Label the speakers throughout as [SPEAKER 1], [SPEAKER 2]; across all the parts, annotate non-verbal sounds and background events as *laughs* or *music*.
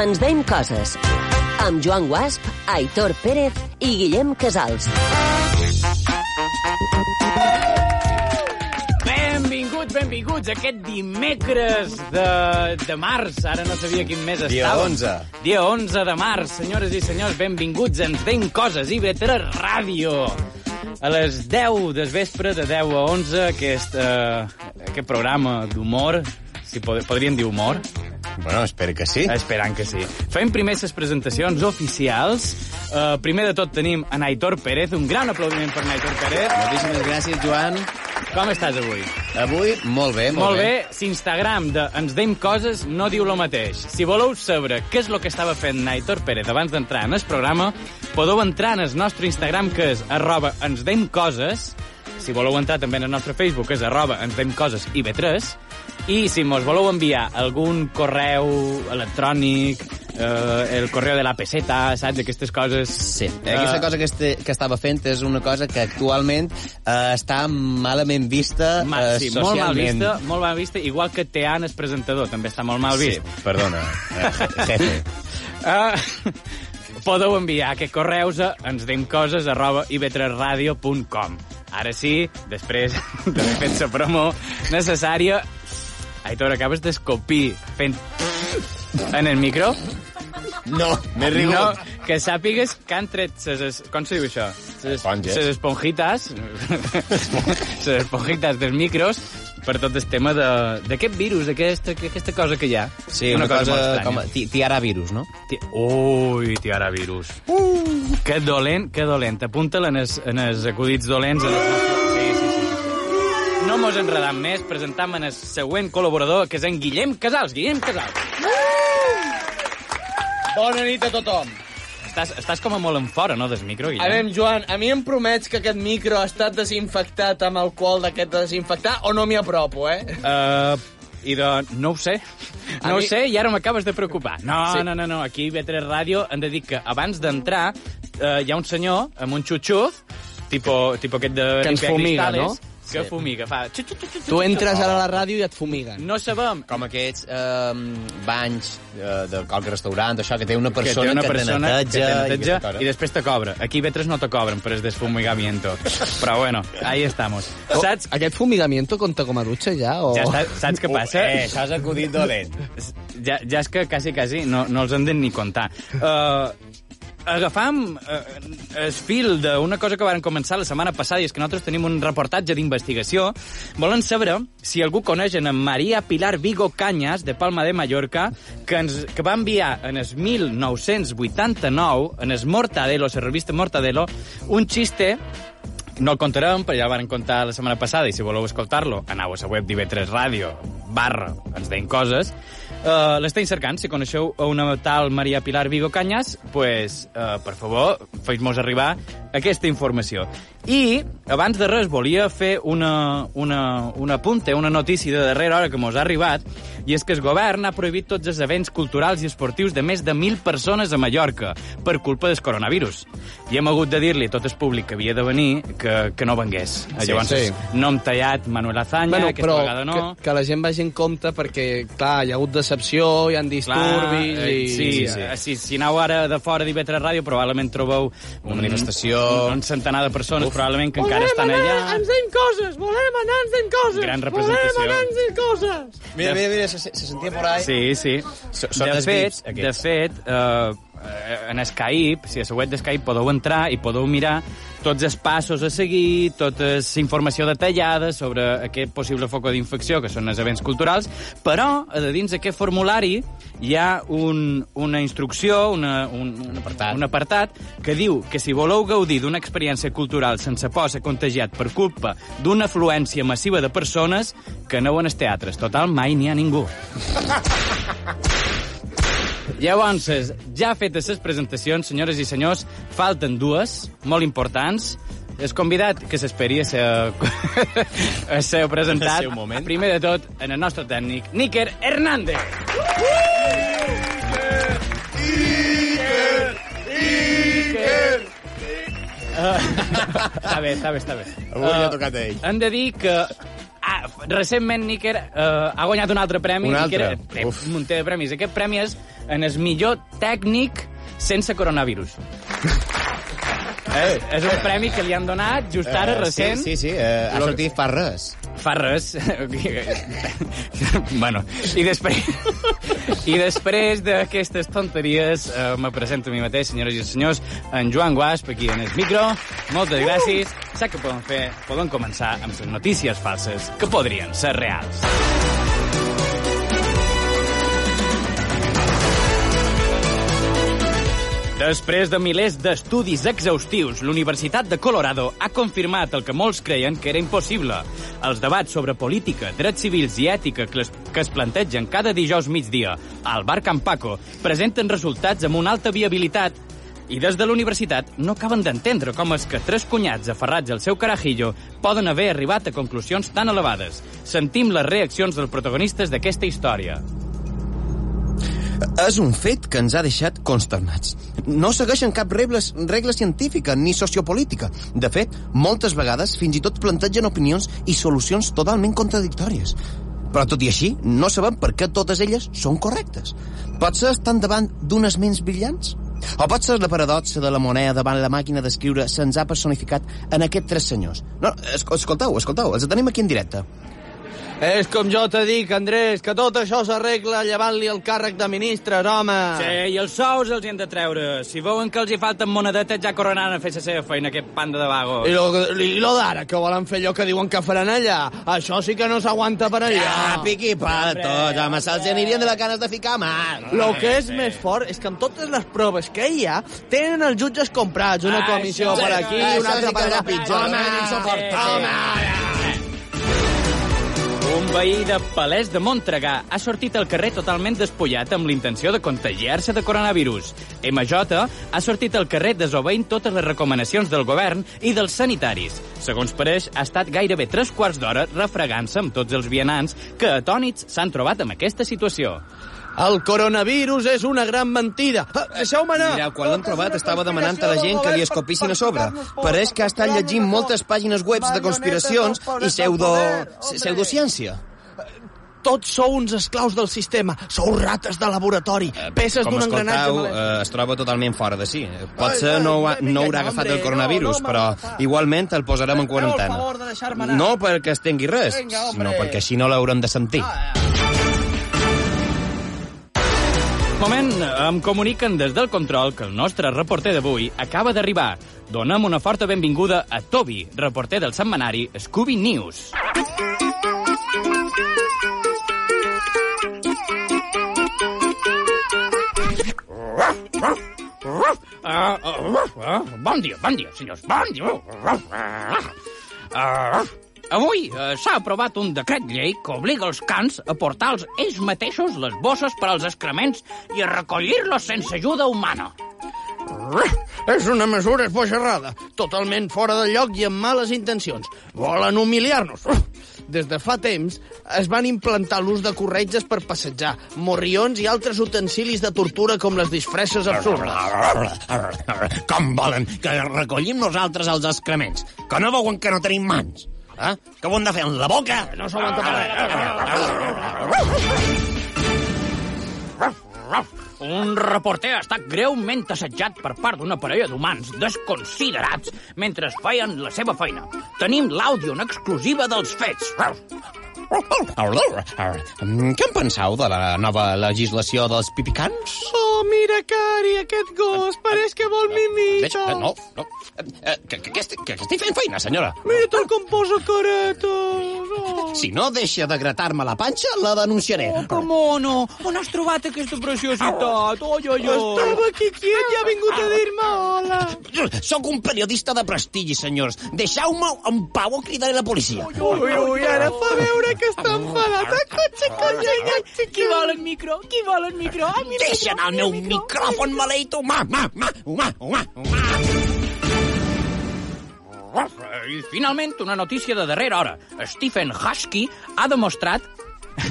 [SPEAKER 1] Ens veiem coses. Amb Joan Guasp, Aitor Pérez i Guillem Casals.
[SPEAKER 2] Benvinguts, benvinguts a aquest dimecres de, de març. Ara no sabia quin mes
[SPEAKER 3] Dia
[SPEAKER 2] estava.
[SPEAKER 3] 11.
[SPEAKER 2] Dia 11 de març. Senyores i senyors, benvinguts. a Ens veiem coses. IB3 Ràdio. A les 10 del vespre, de 10 a 11, aquest, eh, aquest programa d'humor, si pod podríem dir humor,
[SPEAKER 3] Bueno, espero que sí.
[SPEAKER 2] Esperant que sí. Fem primer les presentacions oficials. Uh, primer de tot tenim a Aitor Pérez. Un gran aplaudiment per Aitor Pérez.
[SPEAKER 3] Moltíssimes gràcies, Joan.
[SPEAKER 2] Com estàs avui?
[SPEAKER 3] Avui, molt bé, molt,
[SPEAKER 2] Molt bé, s'Instagram de Ens Deim Coses no diu lo mateix. Si voleu saber què és el que estava fent Aitor Pérez abans d'entrar en el programa, podeu entrar en el nostre Instagram, que és arroba Ens Deim Coses. Si voleu entrar també en el nostre Facebook, que és arroba Ens Deim Coses IB3. I si mos voleu enviar algun correu electrònic, eh, el correu de la peseta, saps, aquestes coses...
[SPEAKER 4] Sí.
[SPEAKER 3] Eh, aquesta
[SPEAKER 2] Ah.
[SPEAKER 3] cosa que, este, que estava fent és una cosa que actualment eh, està malament vista
[SPEAKER 2] Ma,
[SPEAKER 3] eh,
[SPEAKER 2] sí, molt mal
[SPEAKER 3] socialment.
[SPEAKER 2] vista, molt mal vista, igual que Tean, el presentador, també està molt mal vist.
[SPEAKER 3] Sí, *laughs* perdona, eh, je- jefe.
[SPEAKER 2] Ah, *laughs* podeu enviar aquest correus a ensdemcoses arroba ib3radio.com Ara sí, després *laughs* d'haver fet la promo necessària, Aitor, acabes d'escopir fent en el micro.
[SPEAKER 3] No, m'he rigut.
[SPEAKER 2] No, que sàpigues que han tret ses, es- com se diu això? Ses,
[SPEAKER 3] Esponges.
[SPEAKER 2] ses esponjitas, *laughs* ses esponjitas dels micros, per tot el tema de- d'aquest virus, aquesta, aquesta cosa que hi ha.
[SPEAKER 3] Sí, una, cosa,
[SPEAKER 2] molt
[SPEAKER 3] cosa
[SPEAKER 2] estranya.
[SPEAKER 3] com... a- ti- Tiara virus, no?
[SPEAKER 2] Ti- Ui, tiara virus. Uh. Que dolent, que dolent. Apunta-la en, es, en els acudits dolents. En els... Sí, sí, sí, sí. No mos enredam més, presentam en el següent col·laborador, que és en Guillem Casals. Guillem Casals,
[SPEAKER 5] Bona nit a tothom.
[SPEAKER 2] estàs, estàs com a molt en fora, no, del micro,
[SPEAKER 5] A
[SPEAKER 2] Guillem?
[SPEAKER 5] veure, Joan, a mi em promets que aquest micro ha estat desinfectat amb alcohol d'aquest de desinfectar o no m'hi apropo, eh?
[SPEAKER 2] Uh, i de... no ho sé.
[SPEAKER 5] A
[SPEAKER 2] No ho
[SPEAKER 5] mi-
[SPEAKER 2] sé i ara m'acabes de preocupar. No, sí.
[SPEAKER 5] Sí.
[SPEAKER 2] no, no, no. Aquí B3 Ràdio hem de dir que abans d'entrar eh, hi ha un senyor amb un xutxuz, tipo, tipo aquest de...
[SPEAKER 5] Que ens
[SPEAKER 2] Ripia
[SPEAKER 5] fumiga,
[SPEAKER 2] Cristales,
[SPEAKER 5] no?
[SPEAKER 2] Que fumiga, fa... xut, xut, xut, xut,
[SPEAKER 5] Tu entres ara a la ràdio i et fumiguen.
[SPEAKER 2] No sabem
[SPEAKER 3] Com aquests eh, banys eh, de qualque restaurant, això, que té una persona
[SPEAKER 2] té
[SPEAKER 3] que,
[SPEAKER 2] que
[SPEAKER 3] te neteja...
[SPEAKER 2] neteja
[SPEAKER 3] aquesta cosa.
[SPEAKER 2] i, després te cobra. Aquí vetres no te cobren per el desfumigamiento. Però bueno, ahí estamos.
[SPEAKER 3] Oh,
[SPEAKER 2] Saps,
[SPEAKER 5] Aquest fumigamiento conta com a dutxa, ja? O...
[SPEAKER 2] ja està, saps què passa?
[SPEAKER 3] Eh, això és acudit dolent.
[SPEAKER 2] Ja, ja és que quasi, quasi no, no els han de ni contar. Uh, agafam uh, el fil d'una cosa que varen començar la setmana passada i és que nosaltres tenim un reportatge d'investigació. Volen saber si algú coneix en Maria Pilar Vigo Canyas, de Palma de Mallorca, que, ens, que va enviar en el 1989, en el Mortadelo, la revista Mortadelo, un xiste no el contarem, però ja el van contar la setmana passada, i si voleu escoltar-lo, anau a la web d'IV3 Ràdio, barra, ens deien coses. Uh, L'estem cercant, si coneixeu a una tal Maria Pilar Vigo Canyas, pues, uh, per favor, feu-nos arribar aquesta informació. I, abans de res, volia fer una, una, una punta, una notícia de darrera hora que mos ha arribat, i és que el govern ha prohibit tots els events culturals i esportius de més de 1.000 persones a Mallorca per culpa del coronavirus. I hem hagut de dir-li a tot el públic que havia de venir que, que no vengués. Sí, Llavors, sí.
[SPEAKER 6] sí.
[SPEAKER 2] nom tallat, Manuel Azanya, bueno, aquesta vegada no...
[SPEAKER 6] que, que la gent vagi en compte perquè, clar, hi ha hagut decepció, hi han disturbis...
[SPEAKER 2] Clar, eh,
[SPEAKER 6] i...
[SPEAKER 2] sí, sí, sí. Si aneu ara de fora d'IV3 Ràdio, probablement trobeu una
[SPEAKER 3] manifestació.
[SPEAKER 2] Un, un centenar de persones, Uf. probablement, que encara estan allà.
[SPEAKER 5] deim coses, volem anar, ens deim coses.
[SPEAKER 2] Gran representació. volem anar, ens
[SPEAKER 5] deim coses.
[SPEAKER 3] Mira, mira, mira, se, se sentia por ahí.
[SPEAKER 2] Sí, sí.
[SPEAKER 3] So- són
[SPEAKER 2] de,
[SPEAKER 3] els
[SPEAKER 2] fet,
[SPEAKER 3] vips, aquests.
[SPEAKER 2] de fet, eh, en Skype, si a la web d'Skype podeu entrar i podeu mirar tots els passos a seguir, tota la informació detallada sobre aquest possible foc d'infecció, que són els events culturals, però a de dins d'aquest formulari hi ha un, una instrucció, una, un, un,
[SPEAKER 3] apartat.
[SPEAKER 2] un apartat que diu que si voleu gaudir d'una experiència cultural sense por a ser contagiat per culpa d'una afluència massiva de persones que aneu en els teatres. Total, mai n'hi ha ningú. Llavors, ja fetes les presentacions, senyores i senyors, falten dues, molt importants. És convidat que s'esperi a ser, a ser presentat.
[SPEAKER 3] El seu moment.
[SPEAKER 2] Primer de tot, en el nostre tècnic, Níker Hernández. Níker! Níker! Níker! Està bé, està bé, està bé. *laughs*
[SPEAKER 3] Avui li ha
[SPEAKER 2] Eh,
[SPEAKER 3] tocat a ell.
[SPEAKER 2] hem de dir que ah, Recentment, Níker eh, ha guanyat un altre premi.
[SPEAKER 3] Un
[SPEAKER 2] Níker,
[SPEAKER 3] altre?
[SPEAKER 2] Té
[SPEAKER 3] Uf.
[SPEAKER 2] un munter de premis. Aquest premi és en el millor tècnic sense coronavirus. Eh, és un premi que li han donat just
[SPEAKER 3] Eh,
[SPEAKER 2] ara, recent.
[SPEAKER 7] Sí, sí, sí eh, ha sortit fa res.
[SPEAKER 2] Fa res. *laughs* bueno, i després... I després d'aquestes tonteries eh, me presento a mi mateix, senyores i senyors, en Joan Guasp, aquí en el micro. Moltes gràcies. Sap què podem fer? Podem començar amb les notícies falses que podrien ser reals. Després de milers d'estudis exhaustius, l'Universitat de Colorado ha confirmat el que molts creien que era impossible. Els debats sobre política, drets civils i ètica que es, que es plantegen cada dijous migdia al bar Can Paco presenten resultats amb una alta viabilitat i des de la universitat no acaben d'entendre com és que tres cunyats aferrats al seu carajillo poden haver arribat a conclusions tan elevades. Sentim les reaccions dels protagonistes d'aquesta història.
[SPEAKER 3] És un fet que ens ha deixat consternats. No segueixen cap regles, regla científica ni sociopolítica. De fet, moltes vegades fins i tot plantegen opinions i solucions totalment contradictòries. Però tot i així, no sabem per què totes elles són correctes. Potser estan davant d'unes ments brillants? O potser la paradoxa de la moneda davant la màquina d'escriure se'ns ha personificat en aquests tres senyors? No, es- escolteu, escolteu, els tenim aquí en directe.
[SPEAKER 5] És com jo te dic, Andrés, que tot això s'arregla llevant-li el càrrec de ministres, home.
[SPEAKER 2] Sí, i els sous els hi han de treure. Si veuen que els hi falten monedetes, ja coronaran a fer la seva feina, aquest panda de vagos.
[SPEAKER 5] I lo, i lo d'ara, que volen fer allò que diuen que faran allà. Això sí que no s'aguanta per allà.
[SPEAKER 7] Ah, piqui pal, tots, home, se'ls anirien de les ganes de ficar mà.
[SPEAKER 5] Lo que és més fort és que amb totes les proves que hi ha, tenen els jutges comprats. Una
[SPEAKER 2] Ah,
[SPEAKER 5] comissió
[SPEAKER 2] això
[SPEAKER 5] per
[SPEAKER 2] sí,
[SPEAKER 5] aquí,
[SPEAKER 2] no,
[SPEAKER 5] una
[SPEAKER 7] això
[SPEAKER 5] altra
[SPEAKER 7] sí
[SPEAKER 5] per
[SPEAKER 7] que
[SPEAKER 5] allà.
[SPEAKER 7] és pitjor.
[SPEAKER 5] Home,
[SPEAKER 7] No,
[SPEAKER 5] insoportable.
[SPEAKER 2] Un veí de Palès de Montregà ha sortit al carrer totalment despullat amb l'intenció de contagiar-se de coronavirus. MJ ha sortit al carrer desobeint totes les recomanacions del govern i dels sanitaris. Segons pareix, ha estat gairebé tres quarts d'hora refregant-se amb tots els vianants que atònits s'han trobat amb aquesta situació.
[SPEAKER 5] El coronavirus és una gran mentida. Ah, Deixeu-me anar.
[SPEAKER 3] Mireu, quan l'han trobat estava demanant a la gent que li escopissin a sobre. Pareix que ha estat llegint moltes pàgines webs de conspiracions i pseudo... pseudociència.
[SPEAKER 5] Tots sou uns esclaus del sistema. Sou rates de laboratori, Eh, peces
[SPEAKER 3] Eh, Com
[SPEAKER 5] d'un engranatge.
[SPEAKER 3] escoltau,
[SPEAKER 5] malèvol.
[SPEAKER 3] eh, es troba totalment fora de si. Potser no, ho ha- no haurà agafat el coronavirus, però igualment el posarem en quarantena. No perquè es tengui res, sinó perquè així no l'haurem de sentir.
[SPEAKER 5] Ah.
[SPEAKER 2] Moment, em comuniquen des del control que el nostre reporter d'avui acaba d'arribar. Donem una forta benvinguda a Toby, reporter del setmanari Scooby News. Ah, ah, ah, bon dia, bon dia, senyors, bon dia. Ah, avui eh, s'ha aprovat un decret llei que obliga els cans a portar els ells mateixos les bosses per als excrements i a recollir-los sense ajuda humana.
[SPEAKER 5] És una mesura esbojarrada, totalment fora de lloc i amb males intencions. Volen humiliar-nos. Des de fa temps es van implantar l'ús de corretges per passejar, morrions i altres utensilis de tortura com les disfresses absurdes.
[SPEAKER 3] Com volen que recollim nosaltres els excrements? Que no veuen que no tenim mans? Eh? Que ho hem de fer amb la boca? No s'aguanta
[SPEAKER 2] Un reporter ha estat greument assetjat per part d'una parella d'humans desconsiderats mentre es feien la seva feina. Tenim l'àudio en exclusiva dels fets.
[SPEAKER 3] Mm, Què en penseu de la nova legislació dels pipicans?
[SPEAKER 5] Oh, mira, Cari, aquest gos, pareix que vol
[SPEAKER 3] Veig, eh,
[SPEAKER 5] mimita.
[SPEAKER 3] no, no. Eh, eh, Que, que, que, estic, que, que estic fent feina, senyora.
[SPEAKER 5] Mira tal com posa caretes. Oh.
[SPEAKER 3] Si no deixa de gratar-me la panxa, la denunciaré.
[SPEAKER 2] Que mono! On has trobat aquesta preciositat? Oi, oi, oi!
[SPEAKER 5] Estava aquí quiet i ha
[SPEAKER 8] Ah,
[SPEAKER 5] vingut a dir-me hola.
[SPEAKER 3] Sóc un periodista de prestigi, senyors. Deixeu-me en pau o cridaré la policia.
[SPEAKER 5] Ui, ui, ara fa veure que està enfadat. Ah, cotxe, cotxe, cotxe. Qui vol el micro? Qui vol el micro? Ah, mira,
[SPEAKER 3] Deixa anar el meu micròfon maleït humà, humà, humà, humà, humà, humà.
[SPEAKER 2] I finalment, una notícia de darrera hora. Stephen Husky ha demostrat *laughs*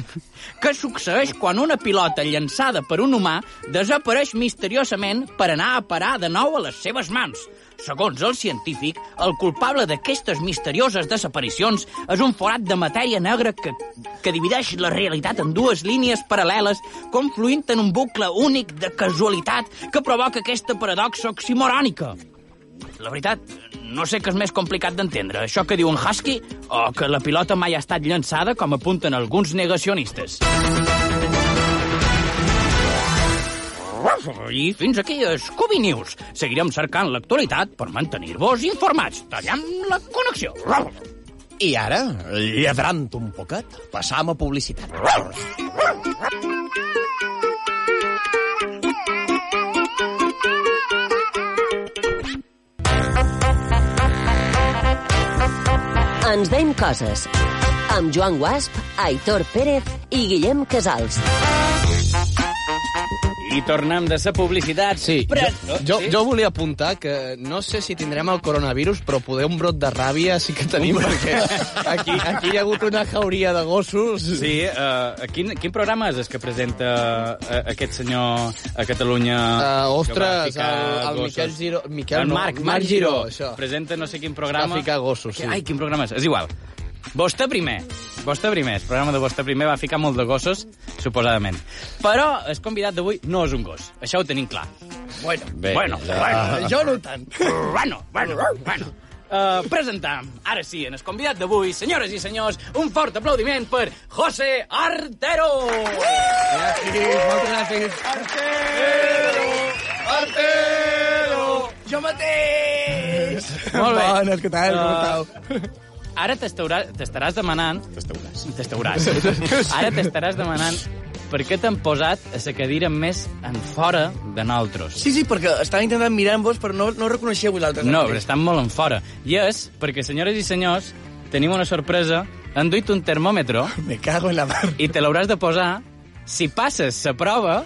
[SPEAKER 2] que succeeix quan una pilota llançada per un humà desapareix misteriosament per anar a parar de nou a les seves mans. Segons el científic, el culpable d'aquestes misterioses desaparicions és un forat de matèria negra que, que divideix la realitat en dues línies paral·leles, confluint en un bucle únic de casualitat que provoca aquesta paradoxa oximorònica. La veritat, no sé què és més complicat d'entendre, això que diu un husky o que la pilota mai ha estat llançada, com apunten alguns negacionistes. I fins aquí Scooby News. Seguirem cercant l'actualitat per mantenir-vos informats. Tallem la connexió.
[SPEAKER 4] I ara, lledrant un poquet, passam a publicitat.
[SPEAKER 1] Ens deim coses. Amb Joan Guasp, Aitor Pérez i Guillem Casals.
[SPEAKER 2] I tornem de sa publicitat.
[SPEAKER 5] Sí,
[SPEAKER 2] Pre...
[SPEAKER 5] jo, jo, jo volia apuntar que no sé si tindrem el coronavirus, però poder un brot de ràbia sí que tenim, perquè aquí, aquí hi ha hagut una jauria de gossos.
[SPEAKER 2] Sí, uh, quin, quin programa és el que presenta uh, aquest senyor a Catalunya?
[SPEAKER 5] Uh,
[SPEAKER 2] que va
[SPEAKER 5] ostres,
[SPEAKER 2] ficar
[SPEAKER 5] el, el
[SPEAKER 2] gossos?
[SPEAKER 5] Miquel Giró... Miquel,
[SPEAKER 2] el
[SPEAKER 5] no,
[SPEAKER 2] Marc,
[SPEAKER 5] Marc Giró, això.
[SPEAKER 2] Presenta no sé quin programa.
[SPEAKER 5] Va ficar gossos, sí.
[SPEAKER 2] Ai, quin programa és? És igual. Vostè primer. Vostè primer. El programa de Vostè primer va ficar molt de gossos, suposadament. Però el convidat d'avui no és un gos. Això ho tenim clar. Bueno, Bé, bueno, ja. bueno.
[SPEAKER 5] Jo no tant.
[SPEAKER 2] Bueno, bueno, bueno. Uh, presentam, ara sí, en el convidat d'avui, senyores i senyors, un fort aplaudiment per José Artero!
[SPEAKER 5] Gràcies, moltes gràcies.
[SPEAKER 2] Molt bé. Uh,
[SPEAKER 5] Bones, què tal? Com
[SPEAKER 2] Ara t'estaurà- t'estaràs demanant... T'estauràs. T'estauràs. Ara t'estaràs demanant per què t'han posat a la cadira més en fora de nosaltres.
[SPEAKER 8] Sí, sí, perquè estava intentant mirar-vos, però no, no reconeixia avui l'altre.
[SPEAKER 2] No, però estan molt en fora. I és perquè, senyores i senyors, tenim una sorpresa. Han duit un termòmetre
[SPEAKER 8] Me cago en la mar.
[SPEAKER 2] i te l'hauràs de posar. Si passes la prova,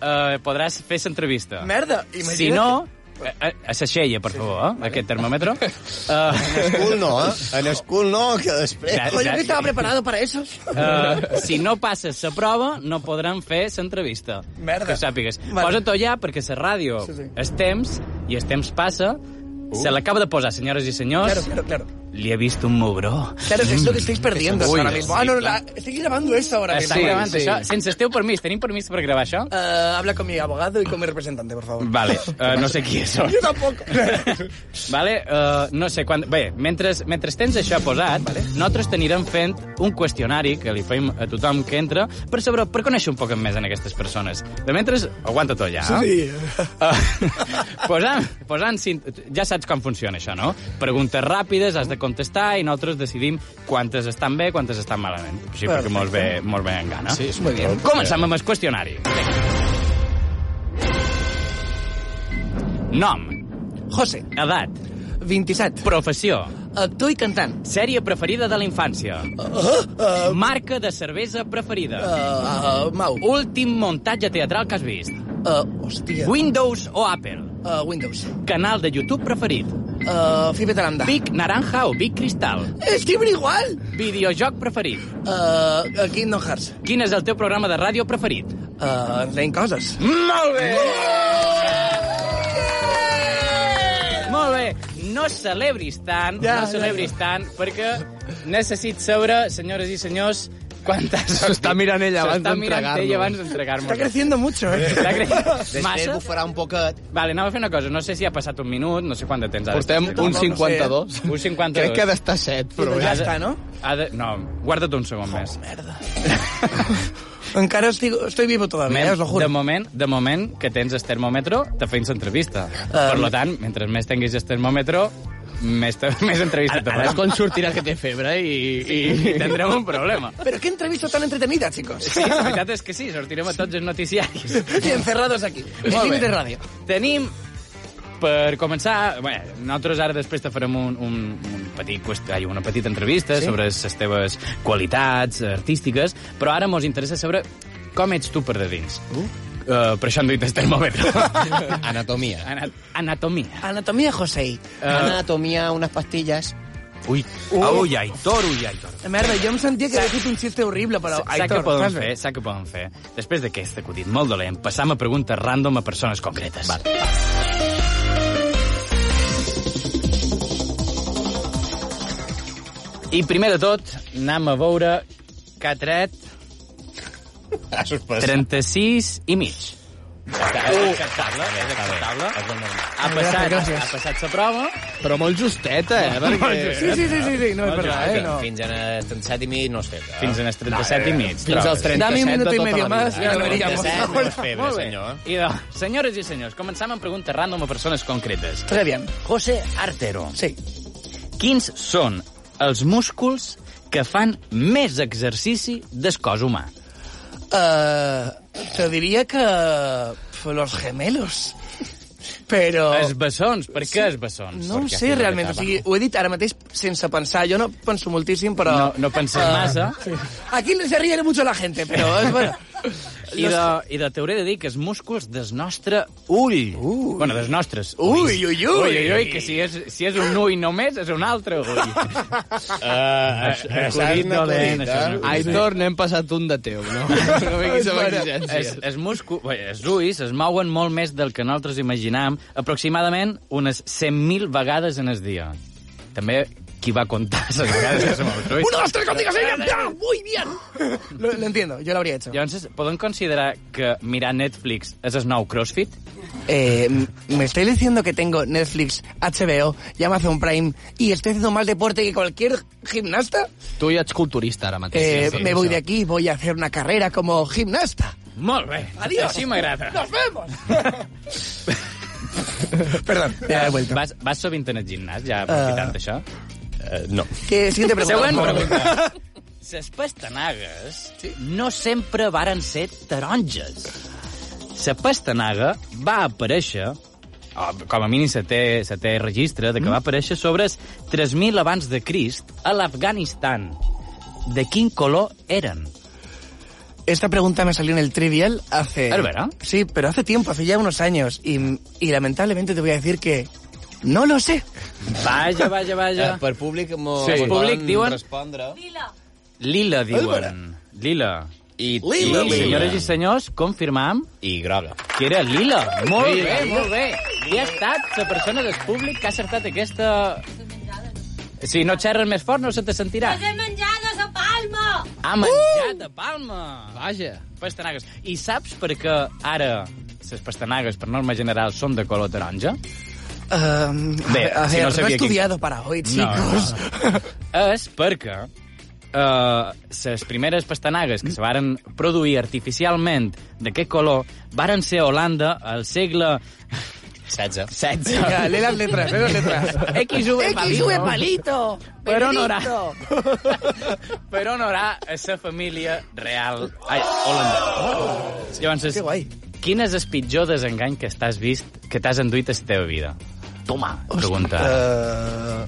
[SPEAKER 2] eh, podràs fer l'entrevista.
[SPEAKER 8] Merda, imagina't.
[SPEAKER 2] Si no... eh, eh, A Seixella, per favor, eh? aquest
[SPEAKER 8] *laughs*
[SPEAKER 2] termòmetre. Eh,
[SPEAKER 4] Escul no, eh? En escul no, que després...
[SPEAKER 2] Ja,
[SPEAKER 8] Coño,
[SPEAKER 2] ja.
[SPEAKER 8] que estaba preparado para eso.
[SPEAKER 2] Uh, si no passes la prova, no podran fer l'entrevista.
[SPEAKER 8] Merda.
[SPEAKER 2] Que ho sàpigues.
[SPEAKER 8] Vale.
[SPEAKER 2] Posa-t'ho ja, perquè la ràdio sí,
[SPEAKER 8] Sí,
[SPEAKER 2] sí.
[SPEAKER 8] sí.
[SPEAKER 2] és temps, i el temps passa. Uh. Se l'acaba de posar, senyores i senyors.
[SPEAKER 8] Claro, claro, claro.
[SPEAKER 2] Li he vist un mugró.
[SPEAKER 8] Claro, es lo Mm, que estáis perdiendo
[SPEAKER 2] Uy,
[SPEAKER 8] ahora mismo.
[SPEAKER 2] sí,
[SPEAKER 8] Ah, no, no,
[SPEAKER 2] claro.
[SPEAKER 8] la- estoy grabando eso ahora mismo.
[SPEAKER 2] Està gravant
[SPEAKER 5] sí.
[SPEAKER 2] això? Sense el teu permís. Tenim permís per gravar això?
[SPEAKER 8] Eh, habla con mi abogado y con mi representante, por favor.
[SPEAKER 2] Vale, uh, no sé qui és.
[SPEAKER 8] Yo tampoco.
[SPEAKER 2] *laughs* vale, uh, no sé quan... Bé, mentre, mentre tens això posat, vale. nosaltres t'anirem fent un qüestionari que li fem a tothom que entra per saber, per conèixer un poc més en aquestes persones. De mentre, aguanta tot ja. eh?
[SPEAKER 8] Sí.
[SPEAKER 2] Uh, *laughs* posant, posant, cin- ja saps com funciona això, no? Preguntes ràpides, has de contestar i nosaltres decidim quantes estan bé, quantes estan malament. Sí, perquè molt bé, molt bé en gana. Sí,
[SPEAKER 8] Muy bien.
[SPEAKER 2] Començam amb el qüestionari. Nom,
[SPEAKER 8] José,
[SPEAKER 2] edat,
[SPEAKER 8] 27.
[SPEAKER 2] professió,
[SPEAKER 8] Actor y cantante.
[SPEAKER 2] sèrie preferida de la infància, marca de cervesa preferida,
[SPEAKER 8] Eh, eh, Mau.
[SPEAKER 2] últim muntatge teatral que has vist,
[SPEAKER 8] Eh, hostia.
[SPEAKER 2] Windows o Apple,
[SPEAKER 8] Eh, Windows.
[SPEAKER 2] canal de YouTube preferit,
[SPEAKER 8] Eh, Fibe Talanda.
[SPEAKER 2] Vic naranja o Vic cristal,
[SPEAKER 8] Es que era igual.
[SPEAKER 2] videojoc preferit,
[SPEAKER 8] Eh, eh, Kingdom Hearts.
[SPEAKER 2] quin és el teu programa de ràdio preferit?
[SPEAKER 8] Eh, Rain Cosas.
[SPEAKER 2] Molt bé! Molt bé, no celebris tant, ja,
[SPEAKER 8] Ja,
[SPEAKER 2] no
[SPEAKER 8] ja,
[SPEAKER 2] celebris ja, ja. tant, perquè necessit saber, senyores i senyors, quantes...
[SPEAKER 5] S'està mirant ella abans
[SPEAKER 2] S'està mirant
[SPEAKER 5] d'entregar-nos.
[SPEAKER 2] ella abans d'entregar-nos.
[SPEAKER 8] Está creciendo mucho, eh.
[SPEAKER 2] Està creixent.
[SPEAKER 4] Després
[SPEAKER 2] Massa?
[SPEAKER 4] bufarà un poquet.
[SPEAKER 2] Vale, anava a fer una cosa, no sé si ha passat un minut, no sé quant de temps ha
[SPEAKER 5] Portem un
[SPEAKER 8] no sé.
[SPEAKER 5] 52.
[SPEAKER 2] Un 52.
[SPEAKER 5] Crec que ha d'estar set, però bé.
[SPEAKER 8] Ja està, *laughs* no?
[SPEAKER 2] Ha de... No, guarda't un segon més.
[SPEAKER 8] Encara estoy, estoy vivo todavía, eh,
[SPEAKER 2] Men,
[SPEAKER 8] os lo juro.
[SPEAKER 2] de moment, de moment que tens el termòmetre, te feim entrevista.
[SPEAKER 5] Eh.
[SPEAKER 2] Um, per lo tant, mentre més tinguis el termòmetre, més, te, *laughs* més entrevista te
[SPEAKER 5] Ara és
[SPEAKER 2] farem.
[SPEAKER 5] quan sortirà que té febre i... i...
[SPEAKER 2] I tindrem un problema.
[SPEAKER 8] Pero qué entrevista tan entretenida, chicos.
[SPEAKER 2] Sí, la veritat és que sí, sortirem a tots els noticiaris.
[SPEAKER 8] *laughs* Y encerrados aquí.
[SPEAKER 2] bé.
[SPEAKER 8] Límite radio.
[SPEAKER 2] Tenim, per començar... Bé, nosaltres ara després te farem un, un, un petit, qüest- ai, una petita entrevista sí? sobre les teves qualitats artístiques, però ara mos interessa saber com ets tu per de dins. Uh? Uh, per això han dit el *laughs* termòmetre.
[SPEAKER 3] Anatomia.
[SPEAKER 2] Ana- Anatomia.
[SPEAKER 8] Anatomía José.
[SPEAKER 3] Anatomia, unes pastilles.
[SPEAKER 2] Ui, uh. ui, Aitor, ui, Aitor.
[SPEAKER 8] Merda, jo em sentia que havia fet un xiste horrible, però...
[SPEAKER 2] Sap què poden fer? Sap què poden fer? Després d'aquest acudit molt dolent, passam a preguntes random a persones concretes. Va. I primer de tot, anem a veure que ha tret
[SPEAKER 3] Ha suspès.
[SPEAKER 2] 36 i mig. És acceptable, és acceptable. Ha passat, ha passat la prova.
[SPEAKER 5] Però molt justeta, eh? Perquè...
[SPEAKER 8] Sí, sí, sí, sí, sí. no és verdad, eh, no.
[SPEAKER 3] Fins en el 37 i mig no es fet.
[SPEAKER 2] Fins en els 37 i mig.
[SPEAKER 3] Fins als
[SPEAKER 5] *laughs*
[SPEAKER 3] 37
[SPEAKER 8] Dame un minuto
[SPEAKER 3] de
[SPEAKER 8] y
[SPEAKER 3] tota
[SPEAKER 8] medio
[SPEAKER 3] la vida.
[SPEAKER 8] más, ya lo veríamos.
[SPEAKER 3] no és febre, senyor.
[SPEAKER 2] I doncs, senyores i senyors, començam amb preguntes random a persones concretes.
[SPEAKER 8] Très bien.
[SPEAKER 2] José Artero,
[SPEAKER 8] Sí.
[SPEAKER 2] quins són els músculs que fan més exercici del cos humà?
[SPEAKER 8] Eh, te diría que pf, los gemelos. Però...
[SPEAKER 2] Els bessons. Oh. Per què els bessons?
[SPEAKER 8] No ho
[SPEAKER 2] Perquè
[SPEAKER 8] sé,
[SPEAKER 2] aquí
[SPEAKER 8] realment. O sigui, ho he dit ara mateix sense pensar. Jo no penso moltíssim, però...
[SPEAKER 2] No- no penses
[SPEAKER 8] Eh,
[SPEAKER 2] massa.
[SPEAKER 8] sí. Aquí se ríe mucho la gente, però... És, *laughs* bueno,
[SPEAKER 2] I de, I de t'hauré de dir que els músculs del nostre ull. Ui. Bueno, dels nostres ulls.
[SPEAKER 8] Ui, ui, ui.
[SPEAKER 2] Ui, ui, ui, que si és, si és un ull només, és un altre
[SPEAKER 8] *laughs*
[SPEAKER 2] ull.
[SPEAKER 3] Eh,
[SPEAKER 2] Acudit dolent, això és un
[SPEAKER 3] acudit, eh?
[SPEAKER 2] acudit.
[SPEAKER 5] Aitor, n'hem passat un de teu, no? No vinguis amb
[SPEAKER 2] Es,
[SPEAKER 5] exigències.
[SPEAKER 2] es muscu... bé, els ulls es mouen molt més del que nosaltres imaginam, aproximadament unes 100.000 vegades en el dia. També qui va comptar les vegades que se mou els ulls.
[SPEAKER 8] Una, dos, tres, contigo, sí, ya, muy *laughs* bien. Lo, lo entiendo, yo lo habría hecho.
[SPEAKER 2] Llavors, podem considerar que mirar Netflix és el nou CrossFit?
[SPEAKER 8] Eh, m- me estoy diciendo que tengo Netflix, HBO y Amazon Prime y estoy haciendo más deporte que cualquier gimnasta.
[SPEAKER 5] Tu ja ets culturista ara mateix.
[SPEAKER 8] Eh, me voy de aquí, voy a hacer una carrera como gimnasta.
[SPEAKER 2] Molt bé.
[SPEAKER 8] Adiós.
[SPEAKER 2] Així m'agrada.
[SPEAKER 8] ¡Nos *laughs* vemos! Perdón, ya he vuelto.
[SPEAKER 2] Vas, vas sovint en el gimnàs, ja aprofitant uh... això?
[SPEAKER 3] Eh, no.
[SPEAKER 8] Que siguiente pregunta.
[SPEAKER 2] Següent
[SPEAKER 8] por favor.
[SPEAKER 2] pregunta. Les pastanagues no sempre varen ser taronges. La pastanaga va aparèixer o, com a mínim se té, se té registre de que va aparèixer sobre els 3.000 abans de Crist a l'Afganistan. De quin color eren?
[SPEAKER 8] Esta pregunta me salió en el trivial hace...
[SPEAKER 2] ¿Es verdad?
[SPEAKER 8] Sí, pero hace tiempo, hace ya unos años. Y, y lamentablemente te voy a decir que no lo sé.
[SPEAKER 2] Vaja, vaja,
[SPEAKER 3] Eh,
[SPEAKER 2] vaja.
[SPEAKER 3] per públic mo,
[SPEAKER 2] Sí.
[SPEAKER 3] sí.
[SPEAKER 2] Públic, diuen-
[SPEAKER 3] respondre.
[SPEAKER 2] Lila, diuen. Lila.
[SPEAKER 3] I,
[SPEAKER 2] I,
[SPEAKER 3] lila,
[SPEAKER 2] senyores i senyors, confirmam
[SPEAKER 3] I groga.
[SPEAKER 2] que era Lila. Molt bé, molt bé. I ha estat la persona del públic que ha acertat aquesta... Si no xerres més fort no se te sentirà.
[SPEAKER 9] Les he menjades a Palma!
[SPEAKER 3] Uh!
[SPEAKER 2] Ha menjat a Palma.
[SPEAKER 5] Vaja.
[SPEAKER 2] Pastanagues. I saps per què ara les pastanagues, per norma general, són de color taronja?
[SPEAKER 8] Um,
[SPEAKER 2] Bé,
[SPEAKER 8] a
[SPEAKER 2] si
[SPEAKER 8] ver,
[SPEAKER 2] no
[SPEAKER 8] no he
[SPEAKER 2] sabía quién-
[SPEAKER 8] estudiado para hoy, chicos. *laughs*
[SPEAKER 2] És perquè les primeres pastanagues que se varen produir artificialment d'aquest color varen ser a Holanda al segle
[SPEAKER 3] 16.
[SPEAKER 8] Venga,
[SPEAKER 2] 16.
[SPEAKER 8] lee las letras, lee las letras.
[SPEAKER 2] XV palito.
[SPEAKER 8] palito!
[SPEAKER 2] Per honorar... per honorar a sa família real... Ai, holandesa. Llavors,
[SPEAKER 8] Oh. que guai.
[SPEAKER 2] quin és el pitjor desengany que t'has vist, que t'has enduit a la teva vida? Toma, pregunta.
[SPEAKER 8] Eh,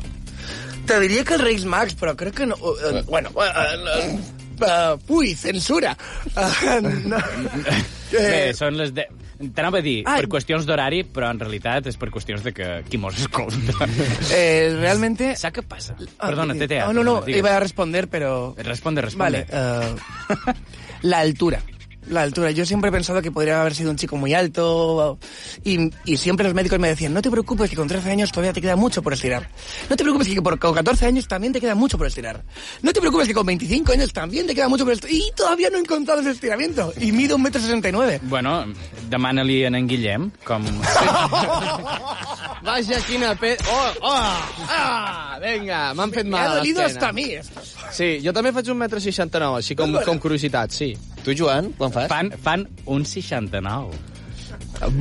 [SPEAKER 8] te diría que el Reis Max, pero creo que no... eh, bueno, eh, eh, uy, censura. Eh,
[SPEAKER 2] *laughs*
[SPEAKER 8] no.
[SPEAKER 2] Bé,
[SPEAKER 8] Eh,
[SPEAKER 2] són les 10... T'anava a dir,
[SPEAKER 8] Ai.
[SPEAKER 2] per qüestions d'horari, però en realitat és per qüestions de que qui mos
[SPEAKER 8] *laughs*
[SPEAKER 2] escolta.
[SPEAKER 8] eh, realmente...
[SPEAKER 2] Saps què passa?
[SPEAKER 8] Ah,
[SPEAKER 2] Perdona,
[SPEAKER 8] sí.
[SPEAKER 2] TTA.
[SPEAKER 8] No, no, no,
[SPEAKER 2] perdona, digues.
[SPEAKER 8] iba a responder, pero...
[SPEAKER 2] Responde, responde.
[SPEAKER 8] Vale. eh, la altura. La altura. Yo siempre he pensado que podría haber sido un chico muy alto y, y siempre los médicos me decían, no te preocupes que con 13 años todavía te queda mucho por estirar. No te preocupes que por- con 14 años también te queda mucho por estirar. No te preocupes que con 25 años también te queda mucho por estirar. Y todavía no he encontrado ese estiramiento. Y mido un metro sesenta y nueve.
[SPEAKER 2] Bueno, demana-li a en Guillem com...
[SPEAKER 5] Vaja, quina pe... Oh, oh, ah! Vinga, m'han fet
[SPEAKER 8] Me
[SPEAKER 5] mal
[SPEAKER 8] ha
[SPEAKER 5] a
[SPEAKER 8] dolido hasta a
[SPEAKER 5] l'esquena.
[SPEAKER 8] mí. esto.
[SPEAKER 5] Sí, jo també faig un metre seixanta-nou, així com, com curiositat, sí.
[SPEAKER 3] Tu, Joan, quan fas?
[SPEAKER 2] Fan, fan un 69.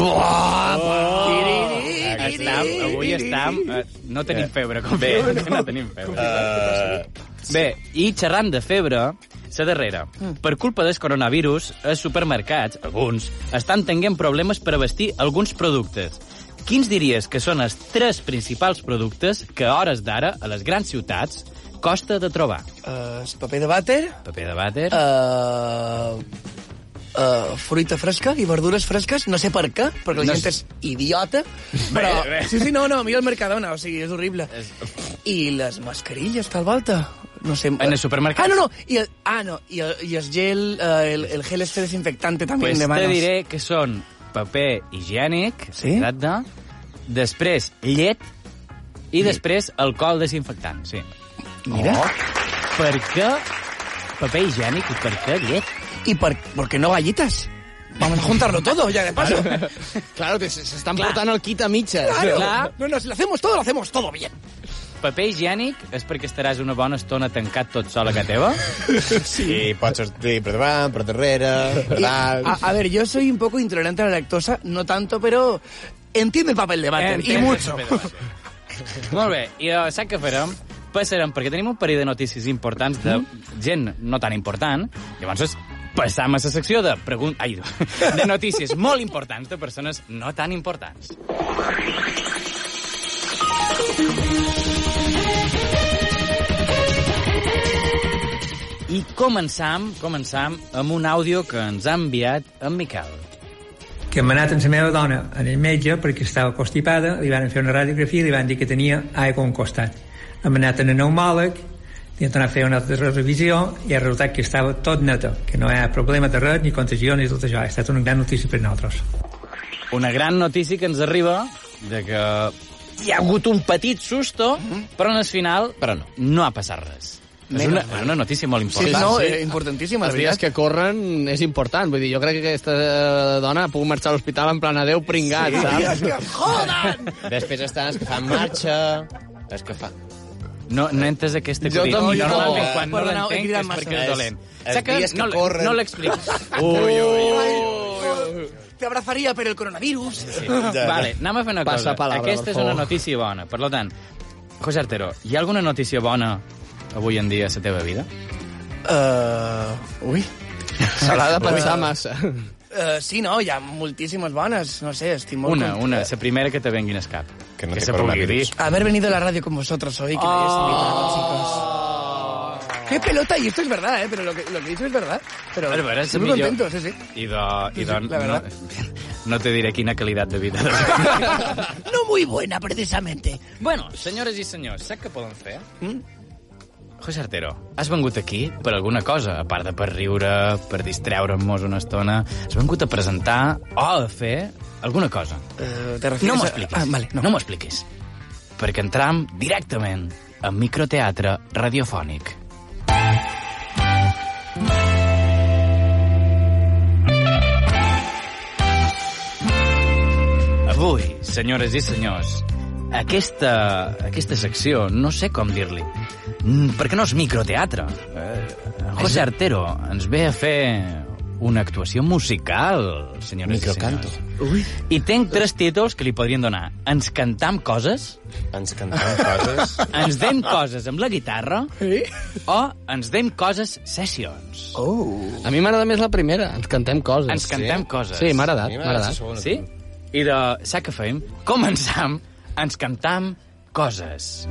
[SPEAKER 3] Oh,
[SPEAKER 2] Estam, avui estam... eh, No tenim febre, com bé. Eh, No tenim febre. Bé, i xerrant de febre, la darrera. Per culpa del coronavirus, els supermercats, alguns, estan tenint problemes per abastir alguns productes. Quins diries que són els tres principals productes que a hores d'ara, a les grans ciutats, costa de trobar?
[SPEAKER 8] Eh, es papel de váter.
[SPEAKER 2] Paper de vàter,
[SPEAKER 8] eh, eh, fruita fresca i verdures fresques, no sé per què, perquè la
[SPEAKER 2] No
[SPEAKER 8] gent és
[SPEAKER 2] sé.
[SPEAKER 8] idiota, però...
[SPEAKER 2] bé.
[SPEAKER 8] Sí, sí, no, no, mira el Mercadona, o sigui, és horrible. I les mascarilles, tal volta? No sé...
[SPEAKER 2] En els supermercats?
[SPEAKER 8] Ah, no, no, i el, ah, no, i el, i el gel, eh, el, el gel este desinfectante també
[SPEAKER 2] pues te
[SPEAKER 8] en demanes.
[SPEAKER 2] diré que són paper higiènic,
[SPEAKER 8] Sí?
[SPEAKER 2] exacte, després llet i després alcohol desinfectant, sí. Oh.
[SPEAKER 8] Mira.
[SPEAKER 2] Per què paper higiènic i per què llet?
[SPEAKER 8] Y por, porque no galletas. Vamos a juntarlo todo, ya de paso.
[SPEAKER 5] Claro, que se, se estan portant el kit a mitges.
[SPEAKER 8] Claro.
[SPEAKER 2] Claro.
[SPEAKER 8] No, no, si lo hacemos todo, lo hacemos todo bien.
[SPEAKER 2] Paper higiènic és perquè estaràs una bona estona tancat tot sol a casa teva?
[SPEAKER 4] Sí. I pots sortir per davant, per darrere, per
[SPEAKER 8] Y-
[SPEAKER 4] dalt...
[SPEAKER 8] a, a ver, yo soy un poco intolerante a la lactosa, no tanto, pero entiendo el papel de váter, y
[SPEAKER 2] Entenc.
[SPEAKER 8] Eh, mucho.
[SPEAKER 2] *laughs* Molt bé, i uh, sap què farem? Passarem, perquè tenim un parell de notícies importants de gent no tan important, llavors és passam a la secció de, pregun... Ai, *laughs* de notícies molt importants de persones no tan importants. I començam, començam amb un àudio que ens ha enviat en Miquel.
[SPEAKER 10] que m'ha anat amb la meva dona en el metge perquè estava constipada, li van fer una radiografia i li van dir que tenia aigua a un costat. Hem anat en el pneumòleg, li han anat a fer una altra revisió i ha resultat que estava tot neta, que no hi ha problema de res, ni contagió, ni tot això. Ha estat una gran notícia per nosaltres.
[SPEAKER 2] una gran notícia que ens arriba de que hi ha hagut un petit susto, però en el final
[SPEAKER 3] Però no.
[SPEAKER 2] no ha passat res. És una, és una notícia molt
[SPEAKER 8] Sí,
[SPEAKER 2] important.
[SPEAKER 8] no, eh, importantísima,
[SPEAKER 5] Els
[SPEAKER 8] la
[SPEAKER 5] dies
[SPEAKER 8] verdad.
[SPEAKER 5] que corren és important. Vull dir, jo crec que aquesta eh, dona ha pogut marxar a l'hospital en plan adeu pringat, *laughs* saps?
[SPEAKER 3] Després estan els que fan marxa, els que fan...
[SPEAKER 2] No, no entes aquesta
[SPEAKER 5] Jo
[SPEAKER 2] acudit.
[SPEAKER 5] tampoc.
[SPEAKER 2] Normalment,
[SPEAKER 3] No,
[SPEAKER 2] quan no
[SPEAKER 8] perdoneu, he
[SPEAKER 2] l'entenc és
[SPEAKER 8] cridat massa.
[SPEAKER 2] perquè és
[SPEAKER 3] Els-
[SPEAKER 2] dolent.
[SPEAKER 3] els
[SPEAKER 2] Saps
[SPEAKER 3] dies que
[SPEAKER 2] no,
[SPEAKER 3] corren.
[SPEAKER 2] no l'expliques.
[SPEAKER 3] Ui, ui, ui.
[SPEAKER 8] Te abrazaría, pero el coronavirus.
[SPEAKER 3] Ja.
[SPEAKER 2] Vale, anem a fer una
[SPEAKER 5] Passa
[SPEAKER 2] cosa.
[SPEAKER 5] palabra,
[SPEAKER 2] Aquesta
[SPEAKER 5] per
[SPEAKER 2] és una
[SPEAKER 5] favor.
[SPEAKER 2] notícia bona. Per tant, José Artero, hi ha alguna notícia bona avui en dia a la teva vida?
[SPEAKER 8] Eh, uy.
[SPEAKER 5] Se l'ha de pensar massa.
[SPEAKER 8] Eh, sí, no, hi ha moltíssimes bones, no sé, estic molt...
[SPEAKER 2] Una,
[SPEAKER 8] cont-
[SPEAKER 2] una, la primera que te venguin al cap.
[SPEAKER 4] Que no té
[SPEAKER 2] se pugui dir.
[SPEAKER 4] coronavirus.
[SPEAKER 8] Haber venido a la radio con vosotros hoy, que me hayáis Ah. invitado, chicos. Qué pelota, y esto es verdad, ¿eh? Pero lo que, lo que he dicho es verdad. Pero
[SPEAKER 2] A veure, és
[SPEAKER 8] estoy muy
[SPEAKER 2] millor.
[SPEAKER 8] contento, sí, sí.
[SPEAKER 2] I de... I de
[SPEAKER 8] Sí, sí, la
[SPEAKER 2] no,
[SPEAKER 8] verdad.
[SPEAKER 2] *laughs* no te diré quina qualitat de vida.
[SPEAKER 8] *laughs* No muy buena, precisamente.
[SPEAKER 2] bueno, senyores i senyors, sap què poden fer? Mm? José Artero, has vengut aquí per alguna cosa, a part de per riure, per distreure'm-nos una estona. Has vengut a presentar o a fer alguna cosa.
[SPEAKER 8] Eh, ¿Te refieres
[SPEAKER 2] No m'ho
[SPEAKER 8] a-
[SPEAKER 2] expliquis.
[SPEAKER 8] Ah, vale, no.
[SPEAKER 2] no m'ho expliquis. Perquè entram directament a microteatre radiofònic. Avui, senyores i senyors, aquesta, aquesta secció no sé com dir-li. Mm, Perquè no és microteatre. Eh, José Artero ens ve a fer una actuació musical, senyores
[SPEAKER 3] Microcanto.
[SPEAKER 2] i senyors. I tenc tres títols que li podrien donar. Ens cantam coses,
[SPEAKER 3] Ens cantaven coses.
[SPEAKER 2] *laughs* ens dem coses amb la guitarra o ens dem coses sessions.
[SPEAKER 3] Oh,
[SPEAKER 5] A mi m'agrada més la primera. Ens cantem coses.
[SPEAKER 2] Ens cantem coses.
[SPEAKER 5] Sí, m'ha
[SPEAKER 3] A
[SPEAKER 5] agradat,
[SPEAKER 3] mi
[SPEAKER 5] m'ha
[SPEAKER 3] m'agrada la
[SPEAKER 5] agradat.
[SPEAKER 3] segona.
[SPEAKER 2] Sí? I de... Saps què fem? Començam, ens cantam coses.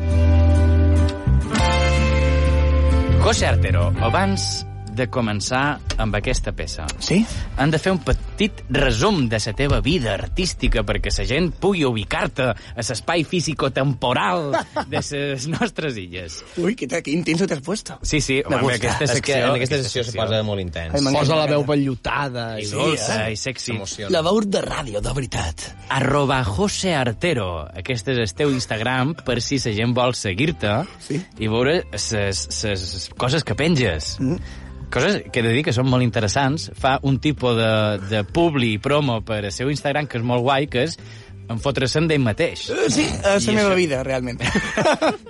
[SPEAKER 2] José Artero, abans de començar amb aquesta peça,
[SPEAKER 8] Sí?
[SPEAKER 2] han de fer un petit resum de la teva vida artística perquè la gent pugui ubicar-te a l'espai físico-temporal de les nostres illes.
[SPEAKER 8] Uy, qué, qué intenso te has puesto.
[SPEAKER 2] Sí, sí, home, en aquesta
[SPEAKER 3] És
[SPEAKER 2] secció...
[SPEAKER 3] que en aquesta sessió se posa molt intens.
[SPEAKER 8] Ai, m'encanta.
[SPEAKER 5] Posa la veu bellotada.
[SPEAKER 2] I
[SPEAKER 5] I...
[SPEAKER 2] dolça, i sexy.
[SPEAKER 3] S'emociona.
[SPEAKER 8] La baur de ràdio, de veritat.
[SPEAKER 2] arroba José Artero. Aquest és el teu Instagram per si la gent vol seguir-te sí. i veure les coses que penges. Mm. Coses que he de dir que són molt interessants. Fa un tipus de, de publi i promo per al seu Instagram que és molt guai, que és en fotre-se'n d'ell mateix.
[SPEAKER 8] Eh, Sí, és
[SPEAKER 2] I
[SPEAKER 8] la meva
[SPEAKER 2] això-
[SPEAKER 8] vida, realment. *laughs*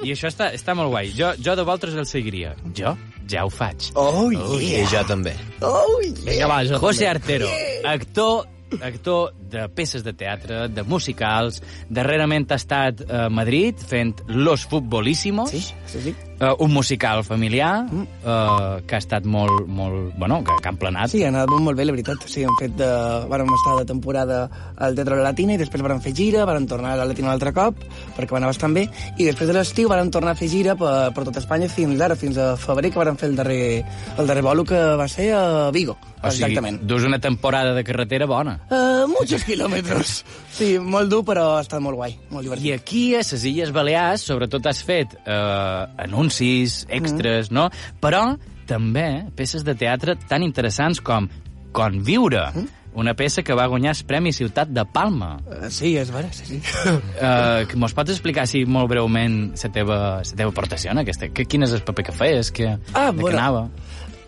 [SPEAKER 2] I això està, està molt guai. Jo, jo de vosaltres el seguiria. Jo ja ho faig.
[SPEAKER 8] Oh,
[SPEAKER 3] I jo també.
[SPEAKER 8] Oh, yeah.
[SPEAKER 5] Vinga, va, jo
[SPEAKER 2] José Artero, actor actor de peces de teatre, de musicals. Darrerament ha estat a Madrid fent Los Futbolísimos, sí,
[SPEAKER 8] Sí, sí.
[SPEAKER 2] eh, un musical familiar eh, que ha estat molt, molt... Bueno, que, que han planat.
[SPEAKER 8] Sí, ha anat molt bé, la veritat. Sí, hem fet de... Vàrem estar de temporada al Teatre de la Latina i després vàrem fer gira, vàrem tornar a la Latina un altre cop, perquè va anar bastant bé, i després de l'estiu vàrem tornar a fer gira per, per tot Espanya fins ara, fins a febrer, que vàrem fer el darrer, el darrer bolo que va ser a Vigo,
[SPEAKER 2] o sigui,
[SPEAKER 8] exactament.
[SPEAKER 2] dus una temporada de carretera bona.
[SPEAKER 8] Uh, muchos kilómetros. Sí, molt dur, però ha estat molt guai,
[SPEAKER 2] I
[SPEAKER 8] molt divertit.
[SPEAKER 2] aquí, a les Illes Balears, sobretot has fet eh, anuncis, extras, mm. no? Però també peces de teatre tan interessants com Conviure, mm. una peça que va guanyar el Premi Ciutat de Palma.
[SPEAKER 8] Eh, Sí, és vera, sí, *laughs* sí.
[SPEAKER 2] Uh, Mos pots explicar, si molt breument, la teva, la teva aportació en aquesta? Que, quin és el paper que feies? Que,
[SPEAKER 8] Ah,
[SPEAKER 2] de
[SPEAKER 8] bueno.
[SPEAKER 2] què anava?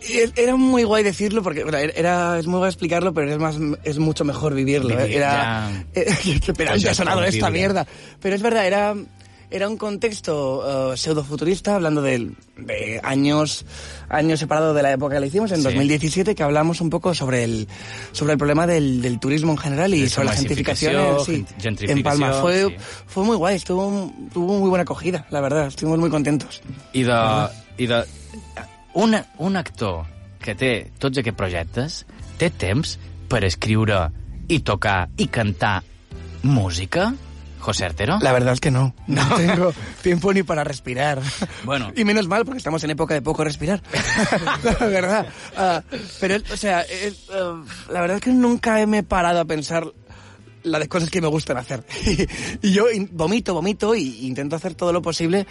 [SPEAKER 8] E- Era muy guay decirlo porque bueno, era es muy guay explicarlo, pero es más es mucho mejor vivirlo. ¿eh?
[SPEAKER 2] Vivir,
[SPEAKER 8] Era *laughs* eh, pero
[SPEAKER 2] Ya
[SPEAKER 8] ya ha
[SPEAKER 2] es
[SPEAKER 8] sonado esta
[SPEAKER 2] horrible.
[SPEAKER 8] mierda. Pero es verdad, era era un contexto eh, pseudofuturista hablando de, de años años separado de la época que la hicimos en
[SPEAKER 2] Sí.
[SPEAKER 8] 2017 que hablamos un poco sobre el sobre el problema del, del turismo en general y
[SPEAKER 2] De su
[SPEAKER 8] sobre la gentrificación en-
[SPEAKER 2] masificación,
[SPEAKER 8] sí,
[SPEAKER 2] gen-
[SPEAKER 8] en Palma
[SPEAKER 2] gentrificación,
[SPEAKER 8] fue
[SPEAKER 2] sí.
[SPEAKER 8] fue muy guay, estuvo tuvo muy buena acogida, la verdad, estuvimos muy contentos.
[SPEAKER 2] I de... I de una, un actor que té tots aquests projectes té temps per escriure i tocar i cantar música? José Artero?
[SPEAKER 8] La verdad es que no. No, tengo tiempo ni para respirar.
[SPEAKER 2] Bueno.
[SPEAKER 8] Y menos mal, porque estamos en época de
[SPEAKER 2] *laughs*
[SPEAKER 8] poco respirar. la verdad. Ah, pero, o sea, es, eh, la verdad es que nunca me he parado a pensar la de cosas que me gustan hacer. *laughs* y yo in- vomito, vomito y intento hacer todo lo posible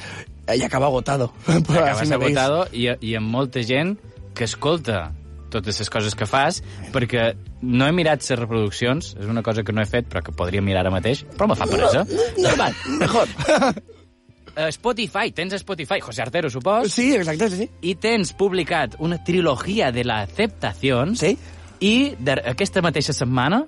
[SPEAKER 8] eh, y acabo agotado. *laughs* Así
[SPEAKER 2] Acabes
[SPEAKER 8] me veis.
[SPEAKER 2] agotado i, i amb molta gent que escolta totes les coses que fas, perquè no he mirat les reproduccions, és una cosa que no he fet, però que podria mirar ara mateix, però me fa peresa.
[SPEAKER 8] Normal, mejor.
[SPEAKER 2] Eh, Spotify, tens Spotify, José Artero, supos?
[SPEAKER 8] sí, exacto, sí, sí.
[SPEAKER 2] I tens publicat una trilogia de l'acceptació.
[SPEAKER 8] Sí.
[SPEAKER 2] I de- aquesta mateixa setmana,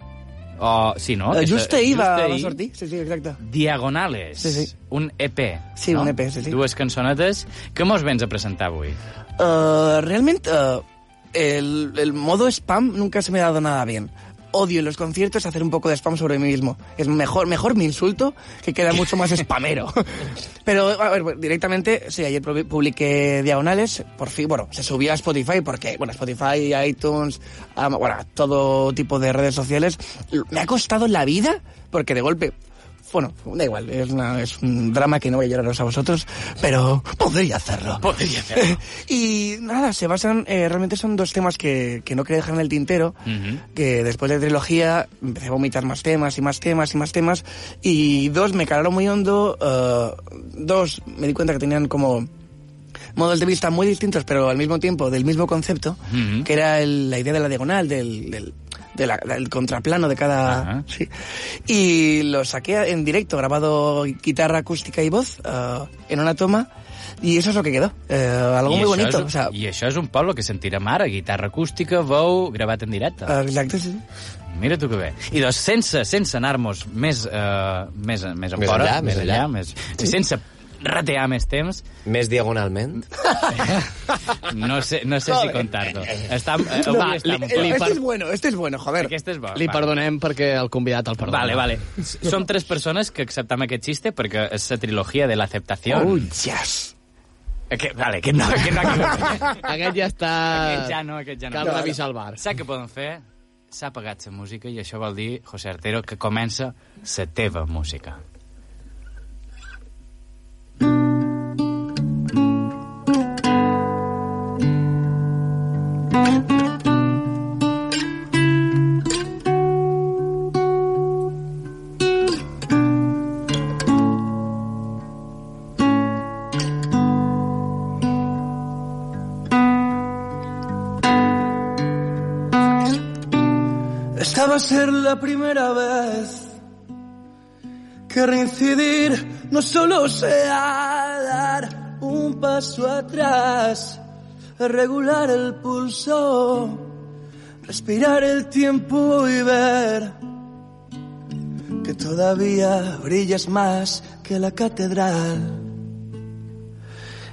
[SPEAKER 2] o sí, no?
[SPEAKER 8] Eh,
[SPEAKER 2] Aquesta-
[SPEAKER 8] Just ahir va,
[SPEAKER 2] just
[SPEAKER 8] va sortir. Sí, sí, exacte.
[SPEAKER 2] Diagonales,
[SPEAKER 8] Sí, sí.
[SPEAKER 2] un EP.
[SPEAKER 8] Sí,
[SPEAKER 2] no?
[SPEAKER 8] un EP, sí, sí.
[SPEAKER 2] Dues cançonetes. Què mos vens a presentar avui?
[SPEAKER 8] Eh, realmente eh, el, el modo spam nunca se me ha dado nada bien. Odio en los conciertos hacer un poco de spam sobre mí mismo. Es mejor, mejor mi insulto, que queda mucho más spamero. Pero, a ver, bueno, directamente, sí, ayer probi- publiqué Diagonales, por fin, bueno, se subió a Spotify porque, bueno, Spotify, iTunes, am- bueno, todo tipo de redes sociales. Me ha costado la vida porque de golpe bueno, da igual, es, una- es un drama que no voy a lloraros a vosotros, pero podría hacerlo. Podría hacerlo. *laughs* y nada, se basan, eh, realmente son dos temas que, que no quería dejar en el tintero, que después de la trilogía empecé a vomitar más temas y más temas y más temas, y dos me calaron muy hondo, eh, dos me di cuenta que tenían como modos de vista muy distintos, pero al mismo tiempo del mismo concepto,
[SPEAKER 2] Ujú.
[SPEAKER 8] que era el- la idea de la diagonal, del, del, de la- del contraplano de cada...
[SPEAKER 2] Ajá.
[SPEAKER 8] Sí. Y lo saqué en directo, grabado guitarra acústica y voz eh, en una toma, y eso es lo que quedó. Eh, algo
[SPEAKER 2] I
[SPEAKER 8] muy
[SPEAKER 2] això
[SPEAKER 8] bonito.
[SPEAKER 2] És,
[SPEAKER 8] o sea,
[SPEAKER 2] I això és un poble que sentirem ara, guitarra acústica, veu, gravat en directe.
[SPEAKER 8] eh, exacto, sí.
[SPEAKER 2] Mira tu que bé. I doncs, sense, sense anar-nos més, eh, més, més,
[SPEAKER 3] Més
[SPEAKER 2] enfora,
[SPEAKER 3] enllà, més enllà.
[SPEAKER 2] més, sí. sense ratear més temps,
[SPEAKER 3] Més diagonalment.
[SPEAKER 2] no sé, no sé si comptar-lo. Està, eh, va, està
[SPEAKER 8] Li-
[SPEAKER 2] un
[SPEAKER 8] eh,
[SPEAKER 2] poc-
[SPEAKER 8] este es bueno, este es bueno, joder.
[SPEAKER 2] Aquest és bo.
[SPEAKER 5] Li
[SPEAKER 2] va.
[SPEAKER 5] perdonem perquè el convidat el perdona.
[SPEAKER 2] Vale, vale. Som tres persones que acceptam aquest xiste perquè és la trilogia de l'acceptació.
[SPEAKER 8] Oh, yes.
[SPEAKER 2] Aquest, vale, aquest no, aquest no.
[SPEAKER 5] Aquest ja està...
[SPEAKER 2] Aquest ja no, aquest ja no.
[SPEAKER 5] Cal revisar el bar.
[SPEAKER 2] Sap què poden fer? S'ha apagat la música i això vol dir, José Artero, que comença la teva música.
[SPEAKER 8] Esta va a ser la primera vez que reincidir no solo sea dar un paso atrás, regular el pulso, respirar el tiempo y ver que todavía brillas más que la catedral.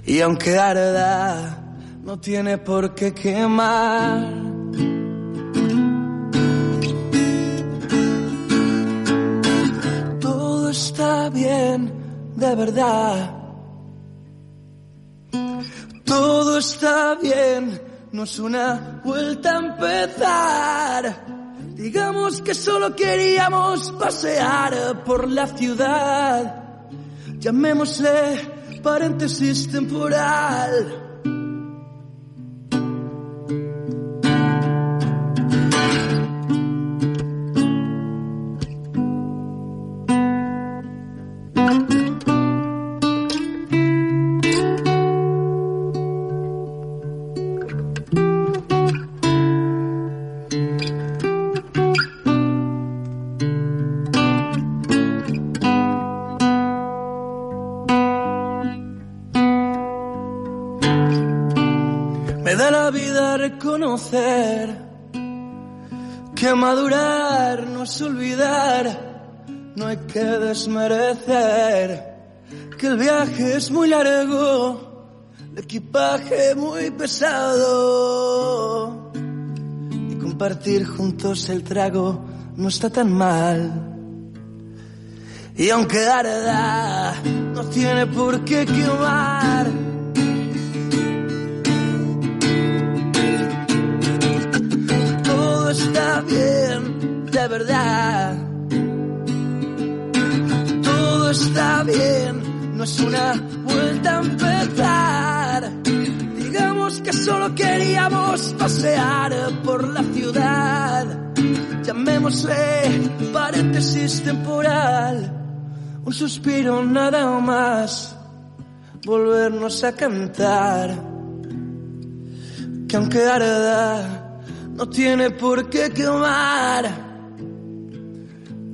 [SPEAKER 8] Y aunque arda, no tiene por qué quemar. todo está bien de verdad. Todo está bien, no es una vuelta a empezar. Digamos que solo queríamos pasear por la ciudad. Llamémosle paréntesis temporal.
[SPEAKER 11] Que madurar no es olvidar, no hay que desmerecer. Que el viaje es muy largo, el equipaje muy pesado. Y compartir juntos el trago no está tan mal. Y aunque arda, no tiene por qué quemar. todo está bien, de verdad. Todo está bien, no es una vuelta a empezar. Digamos que solo queríamos pasear por la ciudad. Llamémosle paréntesis temporal, un suspiro nada más, volvernos a cantar. Que aunque arda, no tiene por qué quemar.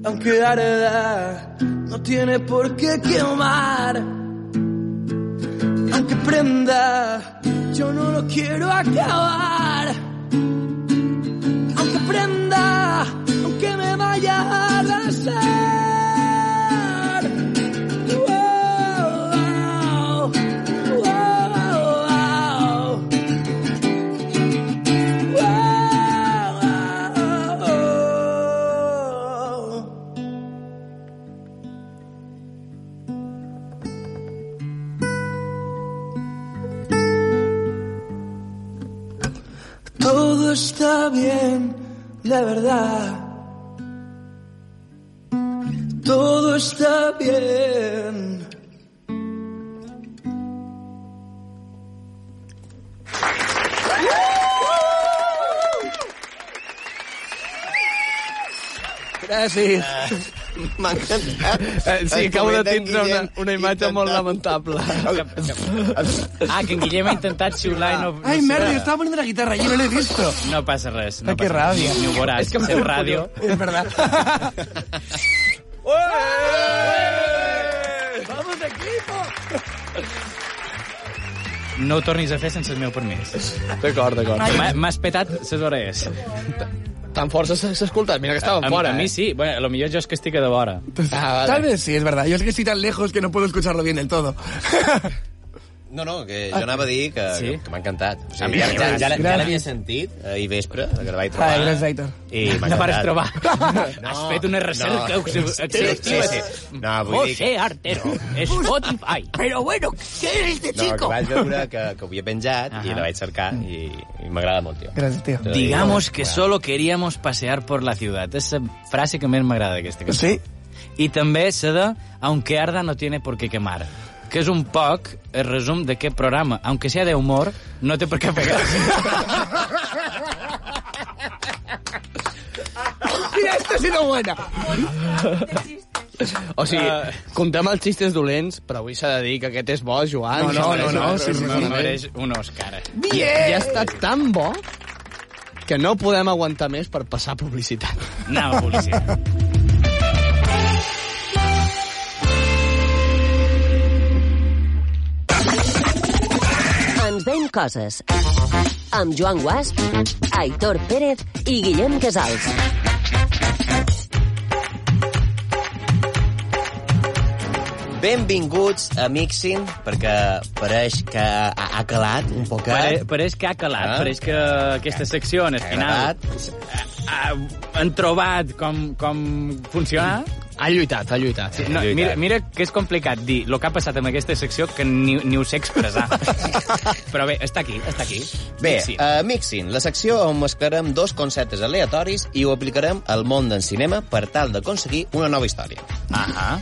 [SPEAKER 11] Aunque arda, no tiene por qué quemar. Aunque prenda, yo no lo quiero acabar. Aunque prenda, aunque me vaya a lanzar. Wow, wow, wow. Todo está bien, de verdad. Todo está bien.
[SPEAKER 5] Gràcies.
[SPEAKER 4] M'ha encantat.
[SPEAKER 5] Eh, Sí,
[SPEAKER 4] El
[SPEAKER 5] acabo de
[SPEAKER 4] coment d'en
[SPEAKER 5] tindre una,
[SPEAKER 4] Guillem
[SPEAKER 5] una imatge molt lamentable.
[SPEAKER 2] *laughs* Ah, que en Guillem ha intentat xiular i no... no
[SPEAKER 8] Ay,
[SPEAKER 2] sé.
[SPEAKER 8] merda, yo estaba poniendo la guitarra y no lo he visto.
[SPEAKER 2] No passa res. No
[SPEAKER 8] Ai, que
[SPEAKER 2] passa res.
[SPEAKER 8] ràbia.
[SPEAKER 2] Ni ho veuràs.
[SPEAKER 5] És que em
[SPEAKER 2] Fem
[SPEAKER 5] surt
[SPEAKER 2] ràdio.
[SPEAKER 8] Es verdad.
[SPEAKER 2] No ho tornis a fer sense el meu permís.
[SPEAKER 5] D'acord, d'acord.
[SPEAKER 2] M'ha- M'has petat les orelles.
[SPEAKER 5] Tan força s'ha s'ha escoltat. Mira que estàvem
[SPEAKER 2] A,
[SPEAKER 5] fora,
[SPEAKER 2] a mi
[SPEAKER 5] eh?
[SPEAKER 2] sí. Bueno, a lo millor jo és que estic a de vora.
[SPEAKER 5] Ah,
[SPEAKER 8] Tal vez sí, es verdad. Yo es que estoy tan lejos que no puedo escucharlo bien del todo.
[SPEAKER 3] No, no, que jo anava a dir que,
[SPEAKER 2] Sí?
[SPEAKER 3] sí? que m'ha encantat. O
[SPEAKER 4] A mi
[SPEAKER 3] sigui, ja ja,
[SPEAKER 4] m'ha
[SPEAKER 3] ja, ja
[SPEAKER 8] encantat.
[SPEAKER 3] l'havia sentit ahir vespre, que la vaig trobar.
[SPEAKER 8] Ay, gracias, Aitor.
[SPEAKER 3] I m'ha
[SPEAKER 2] La pares
[SPEAKER 3] encantat.
[SPEAKER 2] trobar.
[SPEAKER 3] *laughs*
[SPEAKER 2] No, Has fet una recerca
[SPEAKER 3] no.
[SPEAKER 2] no, exhaustiva.
[SPEAKER 3] Sí, sí, sí. No, vull dir
[SPEAKER 2] José Artero, Spotify.
[SPEAKER 8] Pero bueno, ¿qué es este
[SPEAKER 3] No, que vaig veure que, que ho havia penjat
[SPEAKER 2] Ahà.
[SPEAKER 3] i la vaig cercar i, i m'agrada molt, tio.
[SPEAKER 8] Gracias, tío.
[SPEAKER 2] Digamos que solo queríamos pasear por la ciudad. És la frase que més m'agrada d'aquesta cançó.
[SPEAKER 8] Sí.
[SPEAKER 2] I també la de Aunque arda no tiene por qué quemar que és un poc el resum d'aquest programa. Aunque sea de humor, no té per què
[SPEAKER 3] *laughs*
[SPEAKER 2] pegar.
[SPEAKER 8] Mira, esta ha sido buena.
[SPEAKER 5] O sigui,
[SPEAKER 2] Ah.
[SPEAKER 5] uh... comptem els xistes dolents, però avui s'ha de dir que aquest és bo, Joan.
[SPEAKER 8] No, no,
[SPEAKER 5] mereix-
[SPEAKER 8] no, no, sí, sí, sí.
[SPEAKER 2] Mereix un eh? Òscar.
[SPEAKER 5] I, I ha estat tan bo que no podem aguantar més per passar publicitat.
[SPEAKER 2] Anava a publicitat.
[SPEAKER 8] *laughs*
[SPEAKER 1] Ens veiem coses. Amb Joan Guasp, Aitor Pérez i Guillem Casals.
[SPEAKER 3] Benvinguts a Mixing, perquè pareix que ha, ha calat un poc.
[SPEAKER 2] Pare, pareix que ha calat,
[SPEAKER 3] Ah.
[SPEAKER 2] pareix que aquesta secció, en el final, ha- ha- han trobat com, com funcionar.
[SPEAKER 5] Ha lluitat, ha lluitat. Sí.
[SPEAKER 2] No, mira, mira que és complicat dir el que ha passat amb aquesta secció que ni, ni ho sé
[SPEAKER 8] *laughs*
[SPEAKER 2] expressar. Però bé, està aquí, està aquí.
[SPEAKER 3] Bé,
[SPEAKER 2] Sí.
[SPEAKER 3] a Mixing, la secció on mesclarem dos conceptes aleatoris i ho aplicarem al món del cinema per tal d'aconseguir una nova història.
[SPEAKER 8] eh,
[SPEAKER 2] Ahà.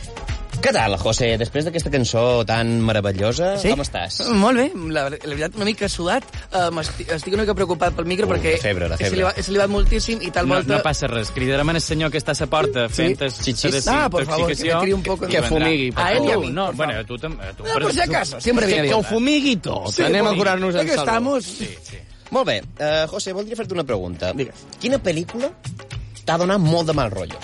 [SPEAKER 3] Què tal, José? Després d'aquesta cançó tan meravellosa,
[SPEAKER 8] Sí?
[SPEAKER 3] com estàs?
[SPEAKER 8] *laughs* Molt bé, la, la veritat, una mica sudat. Uh, estic, estic una mica preocupat pel micro
[SPEAKER 3] Ui,
[SPEAKER 8] perquè
[SPEAKER 3] la febre, la
[SPEAKER 8] he
[SPEAKER 3] febre.
[SPEAKER 8] salivat- he salivat moltíssim i tal
[SPEAKER 2] No,
[SPEAKER 8] volta...
[SPEAKER 2] no passa res. Cridarem al senyor que està a la porta fent sí.
[SPEAKER 8] Xixis. Ah, por favor, que me tiri un poco.
[SPEAKER 5] Que fumigui,
[SPEAKER 8] A ell i a mi,
[SPEAKER 2] No,
[SPEAKER 8] por
[SPEAKER 2] bueno,
[SPEAKER 8] favor.
[SPEAKER 2] a tu també. a Tu,
[SPEAKER 8] No, por si acaso, siempre
[SPEAKER 5] Que,
[SPEAKER 8] viene
[SPEAKER 5] que ho
[SPEAKER 8] bien.
[SPEAKER 5] fumigui tot.
[SPEAKER 8] Sí,
[SPEAKER 5] Anem a
[SPEAKER 8] fumigui.
[SPEAKER 5] curar-nos en
[SPEAKER 8] Aquí
[SPEAKER 5] salut.
[SPEAKER 8] estamos.
[SPEAKER 3] Molt bé, uh, José, voldria fer-te una pregunta.
[SPEAKER 8] Digues.
[SPEAKER 3] Quina pel·lícula t'ha donat molt de mal rotllo?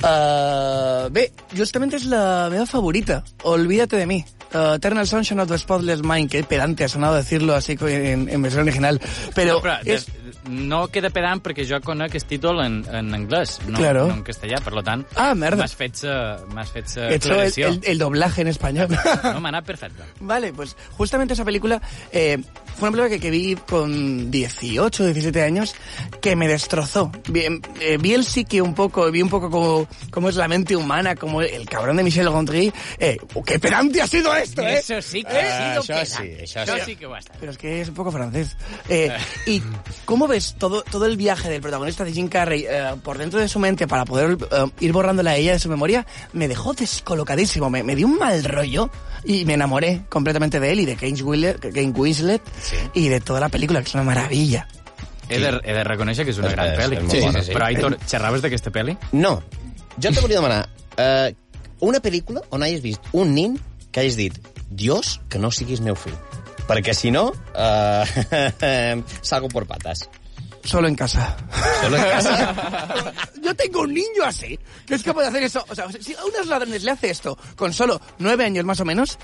[SPEAKER 8] Uh, bé, justament és la meva favorita, Olvídate de mí. Uh, Eternal Sunshine of the Spotless Mind, que pedante ha sonado decirlo así co- en, en versión original, pero,
[SPEAKER 2] Espera,
[SPEAKER 8] es...
[SPEAKER 2] de- no queda pedant perquè jo conec el títol en, en anglès, no,
[SPEAKER 8] Claro.
[SPEAKER 2] no en castellà, per lo tant...
[SPEAKER 8] Ah, merda.
[SPEAKER 2] M'has fet, sa- m'has fet sa
[SPEAKER 8] He hecho el,
[SPEAKER 2] aclaració.
[SPEAKER 8] el- el doblaje en español. *laughs*
[SPEAKER 2] No, m'ha anat perfecte.
[SPEAKER 8] Vale, pues justamente esa película eh, fue una película que, que vi con 18, 17 años que me destrozó. Vi, eh, vi el psique un poco, vi un poco cómo, cómo es la mente humana, como el cabrón de Michel Gondry. Eh, ¡Qué pedante ha sido esto, eh!
[SPEAKER 2] Eso sí que
[SPEAKER 3] Ah,
[SPEAKER 2] ha sido
[SPEAKER 3] això
[SPEAKER 2] pedant.
[SPEAKER 3] sí, això sí.
[SPEAKER 2] sí que ho ha estat.
[SPEAKER 8] Pero es que es un poco francés. Eh, ¿Y cómo ves todo, todo el viaje del protagonista de Jim Carrey eh, por dentro de su mente para poder eh, ir borrándola a ella de su memoria? Me dejó descolocadísimo, me, me dio un mal rollo y me enamoré completamente de él y de Kane Winslet, Kate Winslet y de toda la película, que es una maravilla.
[SPEAKER 2] He de, he de reconèixer que és una
[SPEAKER 3] És-
[SPEAKER 2] gran
[SPEAKER 3] és-
[SPEAKER 2] pel·li.
[SPEAKER 3] és molt Sí, bona, sí, sí.
[SPEAKER 2] Però, Aitor, xerraves d'aquesta pel·li?
[SPEAKER 3] No. Jo te volia demanar eh, una pel·lícula on hagis vist un nin que hagis dit Dios, que no siguis meu fill. Perquè si no, eh, *laughs* salgo por patas.
[SPEAKER 8] Solo en casa.
[SPEAKER 3] Solo en casa.
[SPEAKER 8] *laughs* Yo tengo un niño así, que es capaz de hacer eso. O sea, si a unos ladrones le hace esto con solo nueve años más o menos,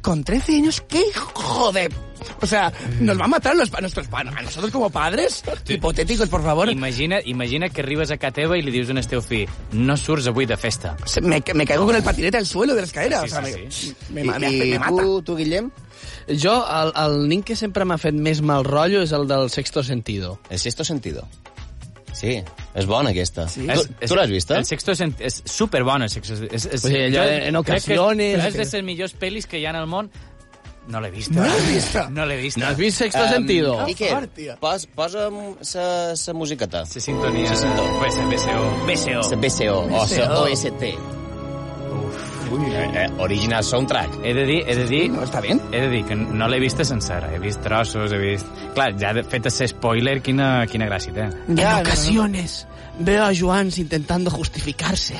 [SPEAKER 8] con 13 años, ¿qué hijo de...? O sea, nos va a matar los, a nuestros padres, a nosotros como padres, hipotéticos, por favor.
[SPEAKER 2] Imagina, imagina que arribes a casa teva i li dius al teu fill no surts avui de festa.
[SPEAKER 8] Se- Me, me caigo con el patinete al suelo de la escalera.
[SPEAKER 2] Sí,
[SPEAKER 8] o sea,
[SPEAKER 2] sí,
[SPEAKER 8] me-
[SPEAKER 2] sí.
[SPEAKER 8] Me, ma- me-
[SPEAKER 3] I,
[SPEAKER 8] me
[SPEAKER 3] i
[SPEAKER 8] mata.
[SPEAKER 3] tu, tu, Guillem?
[SPEAKER 5] Jo, el, el nin que sempre m'ha fet més mal rotllo és el del Sexto Sentido.
[SPEAKER 3] El sexto sentido. Sí, és bona aquesta. Sí.
[SPEAKER 2] És-
[SPEAKER 3] Tu,
[SPEAKER 2] és-
[SPEAKER 3] tu l'has vista?
[SPEAKER 2] El sexto és, és superbona. el Sexto, és, és,
[SPEAKER 5] O sigui, allò
[SPEAKER 2] jo
[SPEAKER 5] en
[SPEAKER 2] crec que
[SPEAKER 5] ocasiones-
[SPEAKER 2] És de les millors pel·lis que hi ha en el món. No l'he vista.
[SPEAKER 8] No l'he vista.
[SPEAKER 2] No l'he vista.
[SPEAKER 5] No has vist Sexto um, Sentido?
[SPEAKER 3] I què?
[SPEAKER 8] fort, tia.
[SPEAKER 3] Pos, Oh. posa'm sa, sa musiqueta.
[SPEAKER 2] Ah, Se sintonia.
[SPEAKER 3] Se sintonia.
[SPEAKER 2] BSO. BSO.
[SPEAKER 3] Sa BCO, o sa OST. Uf. Eh, eh, original soundtrack.
[SPEAKER 2] He de dir, he de dir...
[SPEAKER 8] No, està bien.
[SPEAKER 2] He de dir que no l'he vista sencera. He vist trossos, he vist... Clar, ja de fet ser spoiler, quina, quina gràcia té.
[SPEAKER 8] Ya, no,
[SPEAKER 6] en ocasiones veo a Joans intentando justificarse.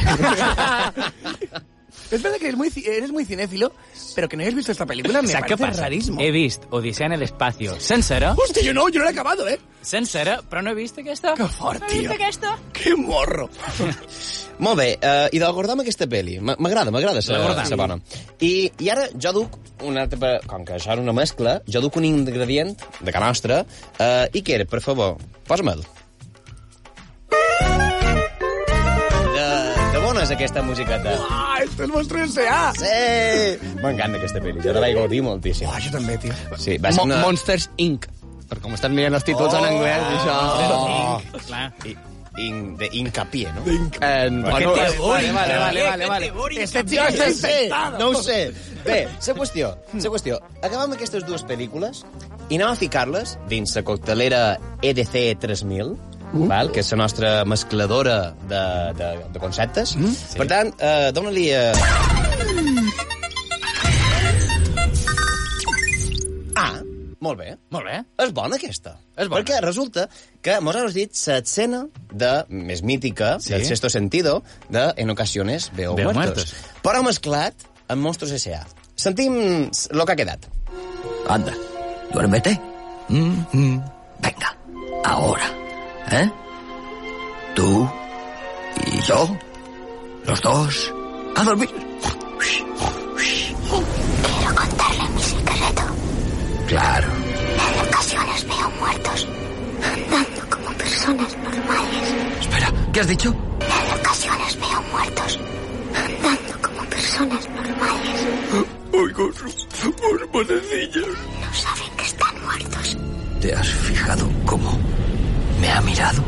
[SPEAKER 8] Es verdad que eres muy, ci- eres muy cinéfilo, pero que no hayas visto esta película me
[SPEAKER 2] Saps què
[SPEAKER 8] parece
[SPEAKER 2] passa?
[SPEAKER 8] rarísimo.
[SPEAKER 2] He vist Odissea en l'espacio sencera,
[SPEAKER 8] Hostia, yo no, yo no lo he acabado, ¿eh?
[SPEAKER 2] sencera, però no he vist aquesta.
[SPEAKER 8] Qué fort, tío.
[SPEAKER 9] aquesta?
[SPEAKER 8] Qué morro.
[SPEAKER 3] Molt bé, eh, i del Gordà amb aquesta pel·li. M- M'agrada, m'agrada
[SPEAKER 2] Del
[SPEAKER 3] sa,
[SPEAKER 2] Gordà.
[SPEAKER 3] sa bona. I, I ara jo duc un altre... pe- Com que això era una mescla, jo duc un ingredient de que nostra. Eh, Iker, per favor, posa'm-el. De, de bona és aquesta musiqueta.
[SPEAKER 8] ¡Ah, esto es monstruo S.A.!
[SPEAKER 3] Sí! M'encanta aquesta pel·li, jo la vaig gaudir moltíssim.
[SPEAKER 8] Ah, yo también, tío.
[SPEAKER 3] Sí, va ser una...
[SPEAKER 5] Monsters, Inc. Per com estan mirant els títols
[SPEAKER 3] Oh!
[SPEAKER 5] en anglès, això...
[SPEAKER 3] Oh!
[SPEAKER 2] Clar.
[SPEAKER 3] I- In, de hincapié, no?
[SPEAKER 5] Eh, bueno,
[SPEAKER 3] Aquest
[SPEAKER 5] eh,
[SPEAKER 3] tio-
[SPEAKER 5] vale, vale, vale, vale, vale.
[SPEAKER 8] Este tío
[SPEAKER 3] Jo
[SPEAKER 8] está
[SPEAKER 3] no sé,
[SPEAKER 8] infectado.
[SPEAKER 3] no ho sé. Bé, la qüestió, la qüestió. Acabam aquestes dues pel·lícules i anem a ficar-les dins la coctelera E EDC 3000, val? que és la nostra mescladora de, de, de conceptes. Per tant, eh, dona-li... Eh... Ah, molt bé.
[SPEAKER 2] Molt bé.
[SPEAKER 3] És bona, aquesta.
[SPEAKER 2] És bona.
[SPEAKER 3] Perquè resulta que mos has dit l'escena de, més mítica,
[SPEAKER 2] Sí.
[SPEAKER 3] sí. del sexto sentido, de En ocasiones veo,
[SPEAKER 2] Veo
[SPEAKER 3] veo muertos.
[SPEAKER 2] muertos.
[SPEAKER 3] Però mesclat amb Monstruos S.A. Sentim lo que ha quedat.
[SPEAKER 12] Anda, duérmete. Mm, mm. Venga, ahora. ¿Eh? Tú y yo, los dos, a dormir.
[SPEAKER 9] Quiero contarle mi secreto.
[SPEAKER 12] Claro.
[SPEAKER 9] En ocasiones veo muertos andando como personas normales.
[SPEAKER 12] Espera, ¿qué has dicho?
[SPEAKER 9] En ocasiones veo muertos andando como personas normales.
[SPEAKER 12] Oigo sus manecillas.
[SPEAKER 9] No saben que están muertos.
[SPEAKER 12] ¿Te has fijado cómo me ha mirado?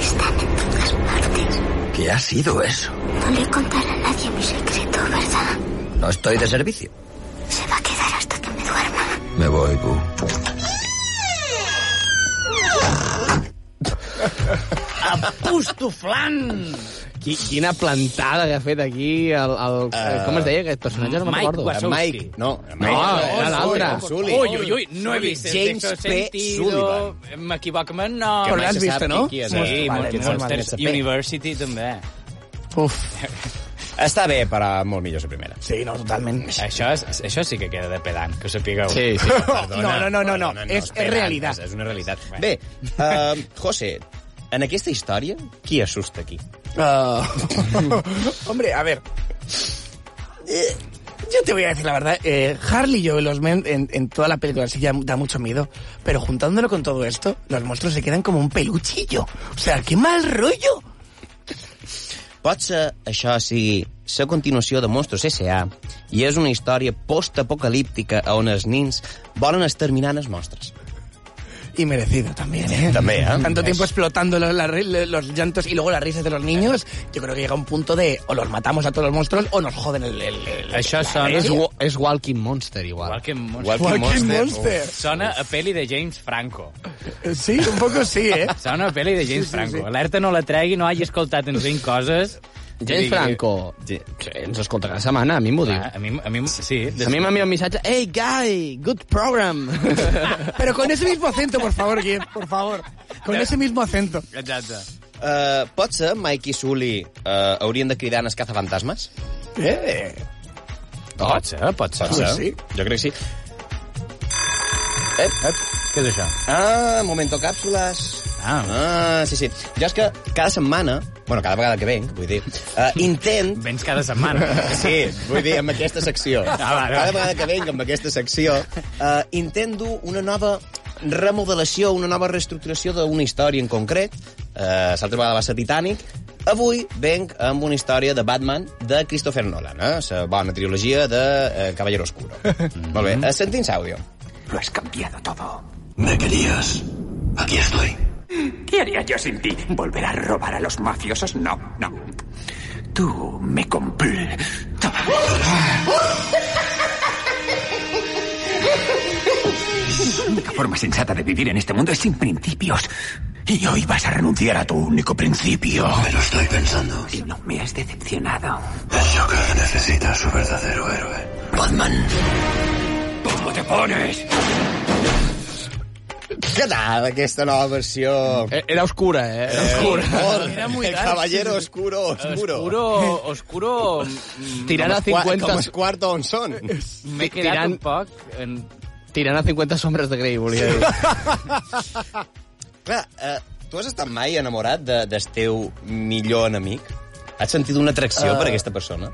[SPEAKER 9] Están en todas partes.
[SPEAKER 12] ¿Qué ha sido eso?
[SPEAKER 9] No le contaré a nadie mi secreto, ¿verdad?
[SPEAKER 12] No estoy de servicio.
[SPEAKER 9] Se va a quedar hasta que me duerma.
[SPEAKER 12] Me voy, Bu.
[SPEAKER 2] Pustuflant!
[SPEAKER 5] Qui, quina plantada que ha fet aquí el... el uh, com es deia aquest personatge? No me'n
[SPEAKER 2] Mike
[SPEAKER 5] recordo.
[SPEAKER 2] Wazowski.
[SPEAKER 3] Eh, Mike, no,
[SPEAKER 5] No, era l'altre.
[SPEAKER 3] Sully.
[SPEAKER 2] Ui, ui, ui, no he vist
[SPEAKER 3] James
[SPEAKER 2] el sexto
[SPEAKER 3] P.
[SPEAKER 2] sentido, Eh,
[SPEAKER 3] Sullivan.
[SPEAKER 2] M'equivoco amb el nom.
[SPEAKER 8] Però
[SPEAKER 3] mai
[SPEAKER 8] l'has
[SPEAKER 3] se
[SPEAKER 8] vist,
[SPEAKER 3] sap
[SPEAKER 8] no?
[SPEAKER 3] qui és,
[SPEAKER 2] Sí,
[SPEAKER 3] eh?
[SPEAKER 8] Vale,
[SPEAKER 2] Monsters
[SPEAKER 8] molt
[SPEAKER 2] Monsters
[SPEAKER 3] malament.
[SPEAKER 2] University també.
[SPEAKER 8] Uf,
[SPEAKER 3] Està bé, però molt millor la primera.
[SPEAKER 8] sí, no, totalment.
[SPEAKER 2] Això, és, això sí que queda de pedant, que ho sapigueu.
[SPEAKER 5] Sí,
[SPEAKER 2] *laughs*
[SPEAKER 5] sí.
[SPEAKER 8] *laughs* No, no, no, no, no. eh. És- és
[SPEAKER 3] espera,
[SPEAKER 8] realitat.
[SPEAKER 3] És una realitat. Bé, uh, José, en aquesta història, qui
[SPEAKER 8] *laughs*
[SPEAKER 3] assusta aquí?
[SPEAKER 8] Ah. Hombre, a ver. Yo te voy a decir la verdad, eh, Harley y Joel Osment en, en toda la película sí ya da mucho miedo, pero juntándolo con todo esto, los monstruos se quedan como un peluchillo. O sea, qué mal rollo.
[SPEAKER 3] Pot ser això sigui la continuació de Monstros S.A. i és una història postapocalíptica on els nins volen exterminar els monstres.
[SPEAKER 8] Y merecido también, ¿eh?
[SPEAKER 3] També, eh?
[SPEAKER 8] Tanto tiempo explotando los, la- los llantos y luego las risas de los niños, yo creo que llega un punto de o los matamos a todos los monstruos o nos joden el... el- el-
[SPEAKER 2] Això
[SPEAKER 8] la
[SPEAKER 2] sona...
[SPEAKER 8] gracia.
[SPEAKER 5] és Walking Monster, igual.
[SPEAKER 2] Walking Monster.
[SPEAKER 8] Walking Walking Monster. Monster.
[SPEAKER 2] Uf. Sona a peli de James
[SPEAKER 8] *laughs*
[SPEAKER 2] Franco.
[SPEAKER 8] Sí, un poco sí, eh?
[SPEAKER 2] Sona a peli de James
[SPEAKER 8] Sí, sí,
[SPEAKER 2] Franco.
[SPEAKER 8] sí.
[SPEAKER 2] Alerta no la tregui, no hagi escoltat en 20 coses.
[SPEAKER 5] James Franco, ens escolta cada setmana, a mi m'ho diu.
[SPEAKER 2] Ah, A mi, a mi sí.
[SPEAKER 5] A mi m'envia un missatge, hey guy, good
[SPEAKER 3] *laughs*
[SPEAKER 5] program.
[SPEAKER 8] Pero con ese mismo acento, por favor, Guillem, por favor. Con ese mismo acento.
[SPEAKER 2] Exacte.
[SPEAKER 3] Uh, pot ser Mike i Sully uh, haurien de cridar en els cazafantasmes?
[SPEAKER 8] Eh?
[SPEAKER 3] Oh. Pot ser, pot ser. Pot ser.
[SPEAKER 8] Sí.
[SPEAKER 3] Jo crec que sí. Ep, ep.
[SPEAKER 2] Què és això?
[SPEAKER 3] Ah, momento càpsules.
[SPEAKER 2] Ah.
[SPEAKER 3] ah, sí, sí. Jo és que cada setmana, bueno, cada vegada que venc, vull dir, uh, intent...
[SPEAKER 2] Vens cada setmana.
[SPEAKER 3] Sí, vull dir, amb aquesta secció.
[SPEAKER 2] Ah, vale,
[SPEAKER 3] Cada
[SPEAKER 2] vale.
[SPEAKER 3] vegada que venc amb aquesta secció, uh, intent dur una nova remodelació, una nova reestructuració d'una història en concret. Uh, L'altra vegada va ser Titanic. Avui venc amb una història de Batman de Christopher Nolan, eh? la bona trilogia de uh, Caballero
[SPEAKER 5] *laughs*
[SPEAKER 3] Oscuro.
[SPEAKER 5] Mhm.
[SPEAKER 3] Molt bé, eh, sentint àudio.
[SPEAKER 12] Lo has cambiado todo. Me querías. Aquí estoy. ¿Qué haría yo sin ti? ¿Volver a robar a los mafiosos? No, no. Tú me completabas. La única forma sensata de vivir en este mundo es sin principios. Y hoy vas a renunciar a tu único principio. Me lo estoy pensando. Y no me has decepcionado. El Joker necesita a su verdadero héroe. Batman. ¿Cómo te pones?
[SPEAKER 3] Què tal, aquesta nova versió?
[SPEAKER 5] Era oscura, eh? Era oscura.
[SPEAKER 3] Molt.
[SPEAKER 2] Era muy dark,
[SPEAKER 3] Caballero
[SPEAKER 2] sí, sí.
[SPEAKER 3] Oscuro, Oscuro.
[SPEAKER 2] *laughs* Oscuro, oscuro... mm,
[SPEAKER 5] Tirant a
[SPEAKER 3] Com els qua-
[SPEAKER 5] 50...
[SPEAKER 3] Com els quarto on són.
[SPEAKER 2] M'he quedat
[SPEAKER 5] Tirant-
[SPEAKER 2] un poc... En...
[SPEAKER 5] Tirant a 50 sombres de Grey, volia dir.
[SPEAKER 3] Clar, eh, tu has estat mai enamorat de, del teu millor enemic? Has sentit una atracció uh... per aquesta persona?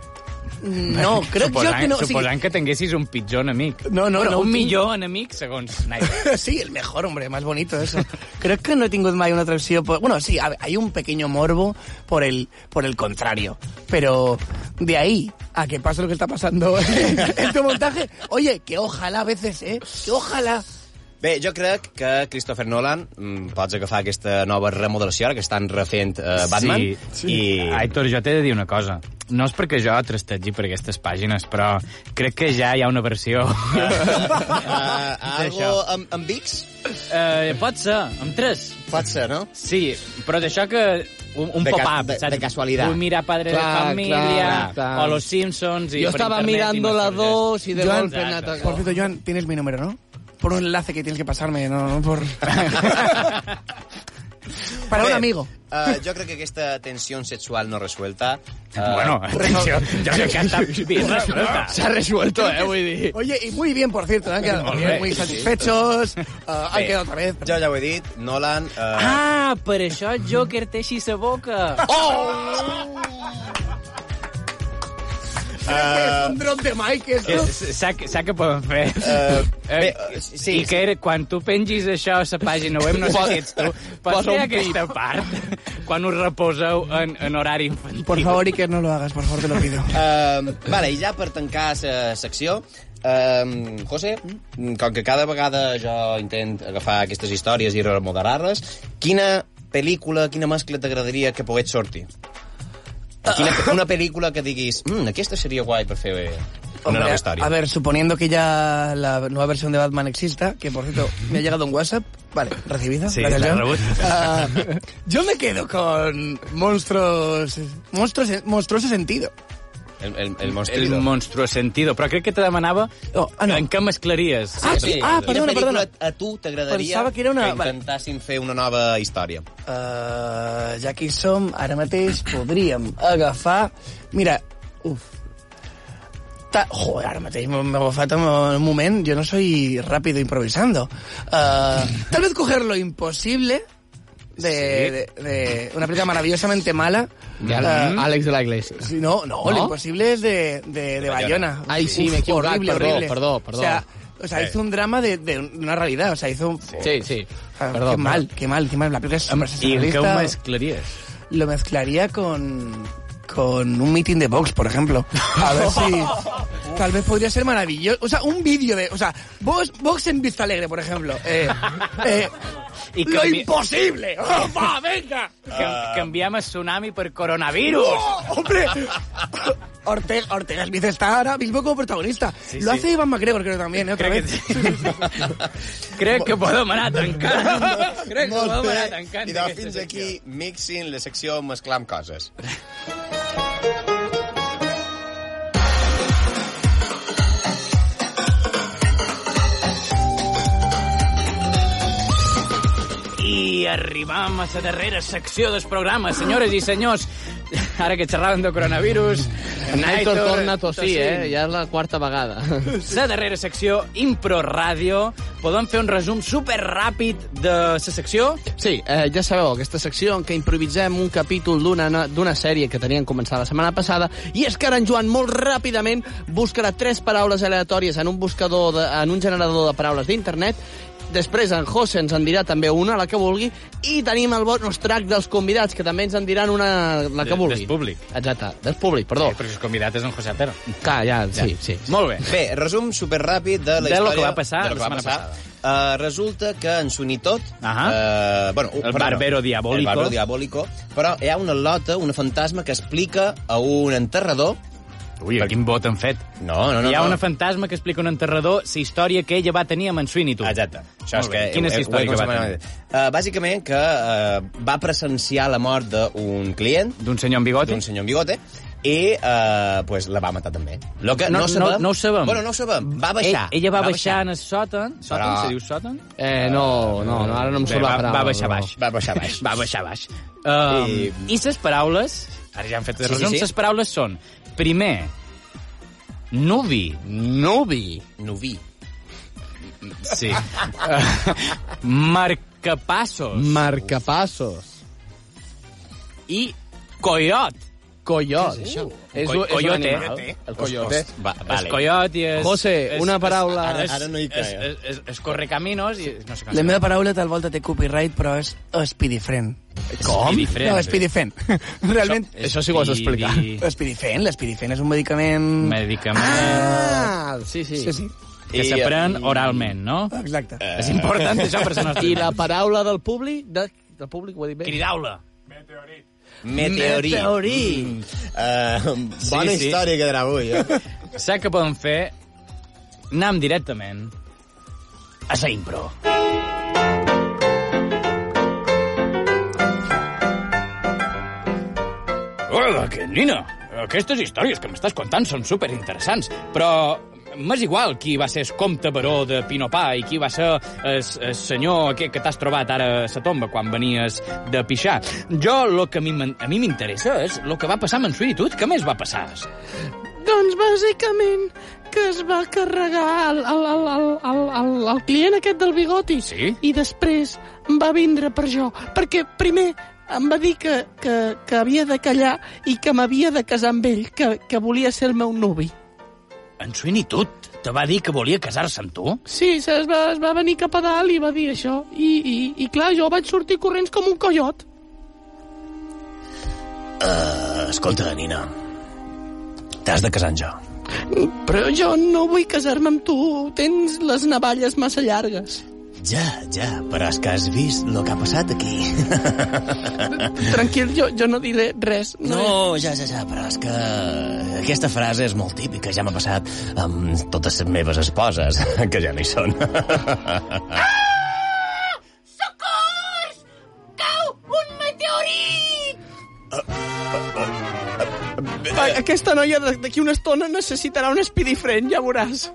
[SPEAKER 8] *laughs* No, creo yo
[SPEAKER 2] Suposant,
[SPEAKER 8] que no. sí.
[SPEAKER 2] suposant que tinguessis un pitjor enemic.
[SPEAKER 8] No, no,
[SPEAKER 2] bueno,
[SPEAKER 8] no,
[SPEAKER 2] un
[SPEAKER 8] tinc-
[SPEAKER 2] millor enemic, segons Snyder.
[SPEAKER 8] *laughs* Sí, el mejor, hombre, más bonito eso. *laughs* Creo que no tengo más una atracción por... Bueno, sí, a ver, hay un pequeño morbo por el, por el contrario. Pero de ahí a que pase lo que está pasando *laughs* en tu montaje, oye, que ojalá a veces, ¿eh? Que ojalá.
[SPEAKER 3] Bé, jo crec que Christopher Nolan mm, pots agafar aquesta nova remodelació ara que estan refent eh, Batman
[SPEAKER 2] Sí, sí.
[SPEAKER 3] i...
[SPEAKER 2] Aitor, jo t'he de dir una cosa. No és perquè jo trastegi per aquestes pàgines, però crec que ja hi ha una versió. Eh,
[SPEAKER 3] Uh,
[SPEAKER 2] Ah,
[SPEAKER 3] algo
[SPEAKER 2] D'això.
[SPEAKER 3] amb, amb Vix?
[SPEAKER 2] eh, pot ser, amb tres.
[SPEAKER 3] Pot ser, no?
[SPEAKER 2] Sí, però d'això que... Un, un
[SPEAKER 3] De ca-
[SPEAKER 2] pop-up,
[SPEAKER 3] de- de casualitat.
[SPEAKER 2] Vull mirar Padre
[SPEAKER 5] Clar,
[SPEAKER 2] de Família,
[SPEAKER 5] clar, clar.
[SPEAKER 2] o Los Simpsons... I
[SPEAKER 5] Yo
[SPEAKER 2] per
[SPEAKER 5] estaba
[SPEAKER 2] internet i
[SPEAKER 5] mirando
[SPEAKER 2] me
[SPEAKER 5] la
[SPEAKER 2] sorgeix.
[SPEAKER 5] 2 y de
[SPEAKER 8] Joan,
[SPEAKER 5] golpe me
[SPEAKER 2] exacte.
[SPEAKER 5] atacó.
[SPEAKER 8] Por cierto, Joan, tienes mi número, ¿no? Por un enlace que tienes que pasarme, no, no por... *laughs* Para un
[SPEAKER 3] Bé,
[SPEAKER 8] amigo.
[SPEAKER 3] Uh, jo crec que aquesta tensió sexual no resuelta... Uh,
[SPEAKER 2] Eh, Bueno,
[SPEAKER 3] *laughs*
[SPEAKER 2] atenció, jo crec que ha estat ben resolta.
[SPEAKER 5] S'ha resuelto, eh, vull dir.
[SPEAKER 8] Oye, y muy bien, por cierto, ¿eh? han quedado
[SPEAKER 2] Muy
[SPEAKER 8] muy,
[SPEAKER 2] bien.
[SPEAKER 8] satisfechos, ah, han
[SPEAKER 3] Bé.
[SPEAKER 8] quedado otra vez.
[SPEAKER 3] Jo ja ho he dit, Nolan... Uh...
[SPEAKER 2] Ah, per això Joker té així sa boca.
[SPEAKER 8] Es un dron de Mike
[SPEAKER 2] Eh,
[SPEAKER 8] esto.
[SPEAKER 2] Saps que poden fer?
[SPEAKER 3] Eh, bé,
[SPEAKER 2] Eh,
[SPEAKER 3] eh, sí,
[SPEAKER 2] I que era, quan tu pengis això a la pàgina web, no sé si ets tu, pots
[SPEAKER 5] Posa
[SPEAKER 2] fer
[SPEAKER 5] un
[SPEAKER 2] aquesta part *laughs* quan us reposeu en, en horari infantil.
[SPEAKER 8] Por favor, Iker, no lo hagas, por favor, te lo pido.
[SPEAKER 3] Um, vale, i ja per tancar la secció, um, José, com que cada vegada jo intent agafar aquestes històries i remodelar-les, quina pel·lícula, quina mescla t'agradaria que pogués sortir?
[SPEAKER 8] Ah.
[SPEAKER 3] Quina, una pel·lícula que diguis, mm, aquesta seria guai per fer eh, una
[SPEAKER 8] Hombre,
[SPEAKER 3] nova
[SPEAKER 8] A
[SPEAKER 3] història.
[SPEAKER 8] ver, suponiendo que ya la nueva versión de Batman exista, que por cierto me ha llegado un WhatsApp, vale, recibida.
[SPEAKER 2] Sí,
[SPEAKER 8] gracias,
[SPEAKER 2] la
[SPEAKER 8] John.
[SPEAKER 2] rebut.
[SPEAKER 8] Ah, yo me quedo con monstruos, monstruos, monstruoso sentido.
[SPEAKER 3] el, el, el
[SPEAKER 2] El
[SPEAKER 3] monstruo.
[SPEAKER 2] monstruo sentido. Però crec que te demanava
[SPEAKER 8] Oh, ah, no.
[SPEAKER 2] en què mesclaries.
[SPEAKER 8] Ah, sí, ah,
[SPEAKER 3] Quina
[SPEAKER 8] perdona,
[SPEAKER 3] pel·lícula
[SPEAKER 8] perdona.
[SPEAKER 3] a tu t'agradaria
[SPEAKER 8] Pensava que era una-
[SPEAKER 3] que intentessin fer una nova història?
[SPEAKER 8] Uh, ja que hi som, ara mateix podríem agafar... Mira, uf... Ta... Joder, ara mateix m'ho m'ho agafat en un moment. Yo no Eh, soy rápido improvisando. Uh, tal vez coger lo imposible de, de- de una película maravillosamente mala.
[SPEAKER 5] De
[SPEAKER 8] Ah,
[SPEAKER 5] Al- Alex de la Iglesia.
[SPEAKER 8] Sí, no, no,
[SPEAKER 5] ¿No?
[SPEAKER 8] lo imposible es de, de, de Bayona.
[SPEAKER 5] Ay, sí, me he equivocado,
[SPEAKER 8] Horrible,
[SPEAKER 5] perdó,
[SPEAKER 8] horrible.
[SPEAKER 5] perdó, perdó.
[SPEAKER 8] O sea, o sea,
[SPEAKER 5] Sí.
[SPEAKER 8] hizo un drama de, de una realidad. O sea, hizo...
[SPEAKER 5] Sí, sí.
[SPEAKER 8] Ah,
[SPEAKER 5] Perdón,
[SPEAKER 8] qué mal, qué mal, qué mal. La película es súper
[SPEAKER 2] I en què ho
[SPEAKER 8] sensacionalista.
[SPEAKER 2] mesclaries?
[SPEAKER 8] Lo mezclaría con, con un meeting de Vox, por ejemplo. A ver
[SPEAKER 5] *laughs*
[SPEAKER 8] si... Tal vez podría ser maravilloso. O sea, un vídeo de... O sea, Vox, Vox en Vista Alegre, por ejemplo.
[SPEAKER 5] *laughs*
[SPEAKER 8] Eh, eh,
[SPEAKER 2] I
[SPEAKER 8] ¡Lo
[SPEAKER 2] canvi-
[SPEAKER 8] imposible! ¡Oh, va, venga!
[SPEAKER 2] Cam- Canviem a tsunami per coronavirus.
[SPEAKER 8] ¡Oh, ¡Hombre! Ortega, Ortega Smith está ahora mismo como protagonista. Lo hace Iván MacGregor, creo también, ¿eh? Otra vez.
[SPEAKER 2] Crec que podem anar tancant. Crec que
[SPEAKER 3] Molt
[SPEAKER 2] podem anar
[SPEAKER 3] bé.
[SPEAKER 2] tancant.
[SPEAKER 3] Idò,
[SPEAKER 2] aquesta
[SPEAKER 3] fins
[SPEAKER 2] secció.
[SPEAKER 3] aquí mixing la secció mesclar amb coses.
[SPEAKER 2] I arribam a la darrera secció del programa, senyores i senyors. Ara que xerràvem de coronavirus...
[SPEAKER 5] Naitor torna a tossir, eh? Ja és la quarta vegada.
[SPEAKER 2] La darrera secció, Impro Ràdio. Podem fer un resum super ràpid de la secció?
[SPEAKER 5] Sí, eh, ja sabeu, aquesta secció en què improvisem un capítol d'una d'una sèrie que tenien començada la setmana passada i és que ara en Joan molt ràpidament buscarà tres paraules aleatòries en un buscador de, en un generador de paraules d'internet Després en José ens en dirà també una, la que vulgui, i tenim el bonus track dels convidats, que també ens en diran una, la que
[SPEAKER 2] De-
[SPEAKER 5] vulgui.
[SPEAKER 2] del públic.
[SPEAKER 5] Exacte, del públic, perdó.
[SPEAKER 2] Sí, perquè el convidat és en José Atero.
[SPEAKER 5] Clar, ja, sí, sí.
[SPEAKER 2] Molt bé.
[SPEAKER 3] Bé, resum superràpid de la
[SPEAKER 2] De lo
[SPEAKER 3] història...
[SPEAKER 2] que va passar
[SPEAKER 3] de lo que
[SPEAKER 2] la
[SPEAKER 3] va
[SPEAKER 2] setmana
[SPEAKER 3] passar. Uh, resulta que en Sunitot... Uh
[SPEAKER 2] Ahà.
[SPEAKER 3] uh, bueno,
[SPEAKER 2] El
[SPEAKER 3] perdó,
[SPEAKER 2] barbero diabólico.
[SPEAKER 3] El barbero diabólico. Però hi ha una lota, una fantasma, que explica a un enterrador...
[SPEAKER 2] Ui, quin vot han fet.
[SPEAKER 3] No, no, no.
[SPEAKER 2] Hi ha
[SPEAKER 3] no.
[SPEAKER 2] una fantasma que explica a un enterrador la història que ella va tenir amb en Swinitu.
[SPEAKER 3] Exacte. Això
[SPEAKER 2] Molt
[SPEAKER 3] és
[SPEAKER 2] bé.
[SPEAKER 3] que...
[SPEAKER 2] Quina és la història que va tenir?
[SPEAKER 3] Uh, bàsicament que uh, va presenciar la mort d'un client...
[SPEAKER 2] D'un senyor amb bigote.
[SPEAKER 3] D'un senyor amb bigote. I uh, pues, la va matar també. Lo que no, sabem...
[SPEAKER 2] No, no ho sabem.
[SPEAKER 3] Bueno, no ho sabem. Va baixar.
[SPEAKER 2] Ell, ella va, baixar, en el sòtan. Sòtan,
[SPEAKER 3] Però-
[SPEAKER 2] se diu sòtan?
[SPEAKER 5] Eh, no, no, no, ara no em
[SPEAKER 2] Bé,
[SPEAKER 5] surt la
[SPEAKER 2] va-
[SPEAKER 5] paraula.
[SPEAKER 2] va baixar
[SPEAKER 5] però-
[SPEAKER 2] baix.
[SPEAKER 3] Va baixar baix.
[SPEAKER 2] Va baixar baix. Um, I...
[SPEAKER 3] I-
[SPEAKER 2] ses paraules... Ara ja han fet el
[SPEAKER 3] Sí, sí,
[SPEAKER 2] resum.
[SPEAKER 3] sí.
[SPEAKER 2] Ses paraules són... Primer, nubi.
[SPEAKER 5] Nubi.
[SPEAKER 3] Noví.
[SPEAKER 2] Sí. Uh, marcapassos.
[SPEAKER 5] Marcapassos.
[SPEAKER 2] I coiot.
[SPEAKER 5] Collot. És,
[SPEAKER 2] Co-
[SPEAKER 5] un- és un
[SPEAKER 2] coyote.
[SPEAKER 5] animal. El eh? coyote.
[SPEAKER 3] Va,
[SPEAKER 2] Vale. El coiot i és...
[SPEAKER 5] José,
[SPEAKER 2] és-
[SPEAKER 5] una
[SPEAKER 2] és-
[SPEAKER 5] paraula.
[SPEAKER 3] Ara, ara no hi
[SPEAKER 2] És,
[SPEAKER 3] caia.
[SPEAKER 2] és, és, és correcaminos i no sé com
[SPEAKER 8] La
[SPEAKER 2] se
[SPEAKER 8] meva paraula tal volta té copyright, però és Speedyfriend.
[SPEAKER 2] Com?
[SPEAKER 8] No, Speedyfen. Realment...
[SPEAKER 5] Això sí que ho has d'explicar.
[SPEAKER 2] Speedy-
[SPEAKER 8] Speedyfen, l'espeedifen és un medicament...
[SPEAKER 2] Medicament
[SPEAKER 5] Ah, sí, sí.
[SPEAKER 8] Sí, sí,
[SPEAKER 2] que
[SPEAKER 3] I-
[SPEAKER 2] s'aprèn oralment, no?
[SPEAKER 8] exacte.
[SPEAKER 2] És important això per la
[SPEAKER 5] *laughs*
[SPEAKER 2] nostra
[SPEAKER 5] I la paraula del públic... De, del públic, ho he dit bé?
[SPEAKER 2] Cridaula.
[SPEAKER 3] Meteorit.
[SPEAKER 5] Meteorit.
[SPEAKER 3] Mm. Uh, bona
[SPEAKER 2] Sí,
[SPEAKER 3] sí,
[SPEAKER 2] sí.
[SPEAKER 3] sí. història quedarà avui, *laughs* eh?
[SPEAKER 2] Saps què podem fer? Anam directament a la impro. Hola, que nina! Aquestes històries que m'estàs contant són superinteressants, però m'és igual qui va ser el comte baró de Pinopà i qui va ser el, el senyor aquest que t'has trobat ara a la tomba quan venies de pixar. Jo, lo que a mi m'in- a mi m'interessa és el que va passar amb en Suïtud. Què més va passar?
[SPEAKER 11] Doncs bàsicament que es va carregar el, el, el, el, el, el, el client aquest del bigoti.
[SPEAKER 2] Sí?
[SPEAKER 11] I després va vindre per jo. Perquè primer em va dir que, que, que havia de callar i que m'havia de casar amb ell, que, que volia ser el meu nuvi.
[SPEAKER 2] En Suïtud te va dir que volia casar-se amb tu?
[SPEAKER 11] Sí, se- es va, es va venir cap a dalt i va dir això. I, i, i clar, jo vaig sortir corrents com un coiot.
[SPEAKER 3] Escolta, Nina, t'has de casar amb jo.
[SPEAKER 11] Però jo no vull casar-me amb tu. Tens les navalles massa llargues.
[SPEAKER 3] Ja, ja, però és que has vist el que ha passat aquí.
[SPEAKER 11] Tranquil, jo, jo no diré res.
[SPEAKER 3] No, Oh, ja, ja, ja, però és que aquesta frase és molt típica, ja m'ha passat amb totes les meves esposes, *laughs* que ja no hi són.
[SPEAKER 13] ¡Socors! ¡Cau! ¡Un meteorit!
[SPEAKER 11] A- Aquesta noia de- d'aquí una estona necessitarà un espidifrent, ja veuràs.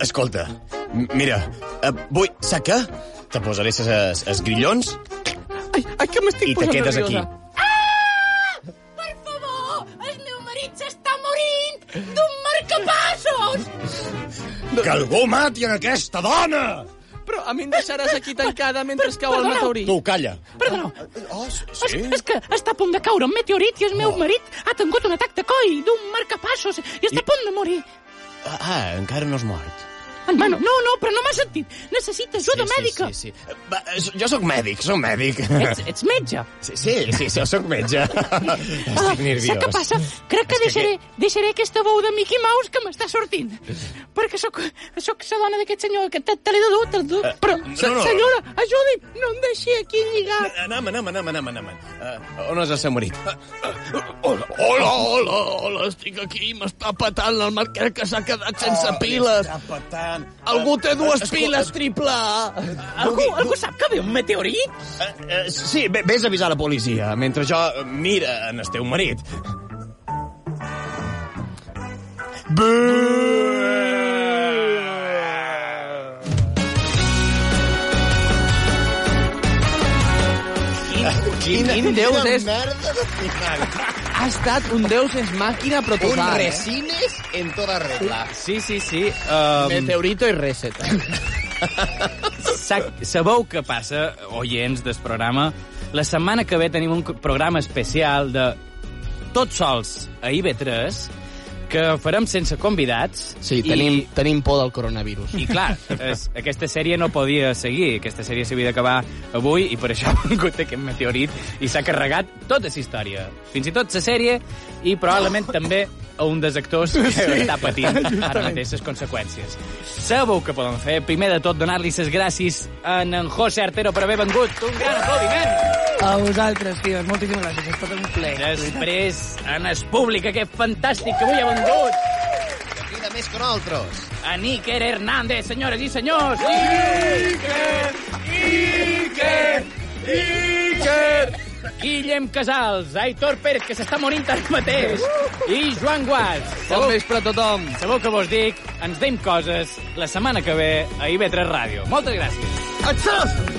[SPEAKER 3] Escolta, m- mira, eh, vull... Saps què? Te posaré els grillons
[SPEAKER 11] Ai, ai que m'estic
[SPEAKER 3] i te
[SPEAKER 11] posant
[SPEAKER 3] quedes aquí.
[SPEAKER 11] nerviosa.
[SPEAKER 13] Ah! Per favor, el meu marit s'està morint d'un marcapassos!
[SPEAKER 3] Que algú mati en aquesta dona!
[SPEAKER 5] Però a mi em deixaràs aquí tancada mentre cau el
[SPEAKER 13] perdoneu.
[SPEAKER 5] meteorit.
[SPEAKER 3] Tu, calla.
[SPEAKER 13] Perdoneu.
[SPEAKER 3] Oh,
[SPEAKER 13] sí? És, és que està a punt de caure un meteorit i el meu marit ha tingut un atac de coll d'un marcapassos i està a punt de morir.
[SPEAKER 3] Ah, ah, encara no has mort.
[SPEAKER 13] Bueno, no, no, però no m'has sentit. Necessita ajuda mèdica.
[SPEAKER 3] Ah, Sí, sí. Va, eh, jo sóc mèdic, sóc mèdic. *laughs*
[SPEAKER 13] Ets, ets metge.
[SPEAKER 3] Sí, sí, sí, sí, jo sóc metge. *laughs* Estic nerviós.
[SPEAKER 13] Saps Ah, què passa? Crec que
[SPEAKER 3] És que
[SPEAKER 13] deixaré, deixaré aquesta veu de Mickey Mouse que m'està sortint. Perquè sóc, sóc la dona d'aquest senyor, que te, te l'he de dur, te l'he de dur. Però,
[SPEAKER 3] Eh, no, no.
[SPEAKER 13] senyora, ajudi'm, no em deixi aquí lligat.
[SPEAKER 3] Anem, anem, anem, anem, anem. Uh, on és el seu marit?
[SPEAKER 6] Hola, hola, hola, hola, estic aquí, m'està petant el marquet que s'ha quedat sense
[SPEAKER 13] Ah,
[SPEAKER 11] Oh,
[SPEAKER 6] piles.
[SPEAKER 11] m'està petant.
[SPEAKER 6] Algú té dues
[SPEAKER 11] Escolta,
[SPEAKER 6] piles triple A.
[SPEAKER 13] Algú, algú sap que ve un meteorit?
[SPEAKER 3] Uh, sí, ve- vés a avisar la policia, mentre jo eh, mira en el teu marit.
[SPEAKER 5] Quin, quin deus és...
[SPEAKER 3] merda de final.
[SPEAKER 5] Ha estat un deus és màquina, però total. eh?
[SPEAKER 3] resines en
[SPEAKER 5] tota
[SPEAKER 3] toda regla.
[SPEAKER 2] Sí, sí, sí. Um...
[SPEAKER 5] Meteorito i reset.
[SPEAKER 2] Sa- Sabeu què passa, oients del programa? La setmana que ve tenim un co- programa especial de Tots sols a IB3 que farem sense convidats.
[SPEAKER 5] Sí, tenim, I... tenim por del coronavirus.
[SPEAKER 2] I, i clar, es, aquesta sèrie no podia seguir. Aquesta sèrie s'havia d'acabar avui i per això *laughs* ha vingut aquest meteorit i s'ha carregat tota la història. Fins i tot la sèrie i probablement també a un dels actors que sí. està patint ara mateix les conseqüències. Sabeu que poden fer? Primer de tot, donar-li les gràcies a en José Artero per haver vengut. Un gran aplaudiment!
[SPEAKER 8] A vosaltres, tios, moltíssimes gràcies. Ha estat un plaer.
[SPEAKER 2] Després, en el públic, aquest fantàstic que avui ha vengut.
[SPEAKER 3] Crida més que nosaltres.
[SPEAKER 2] A Níker Hernández, senyores i senyors. Níker! Iker! Iker! Guillem Casals, Aitor Pérez, que s'està morint ara mateix, i Joan Guas. Bon
[SPEAKER 5] vespre a tothom.
[SPEAKER 2] Sabeu que vos dic, ens deim coses la setmana que ve a IB3 Ràdio. Moltes gràcies.
[SPEAKER 6] Atxós!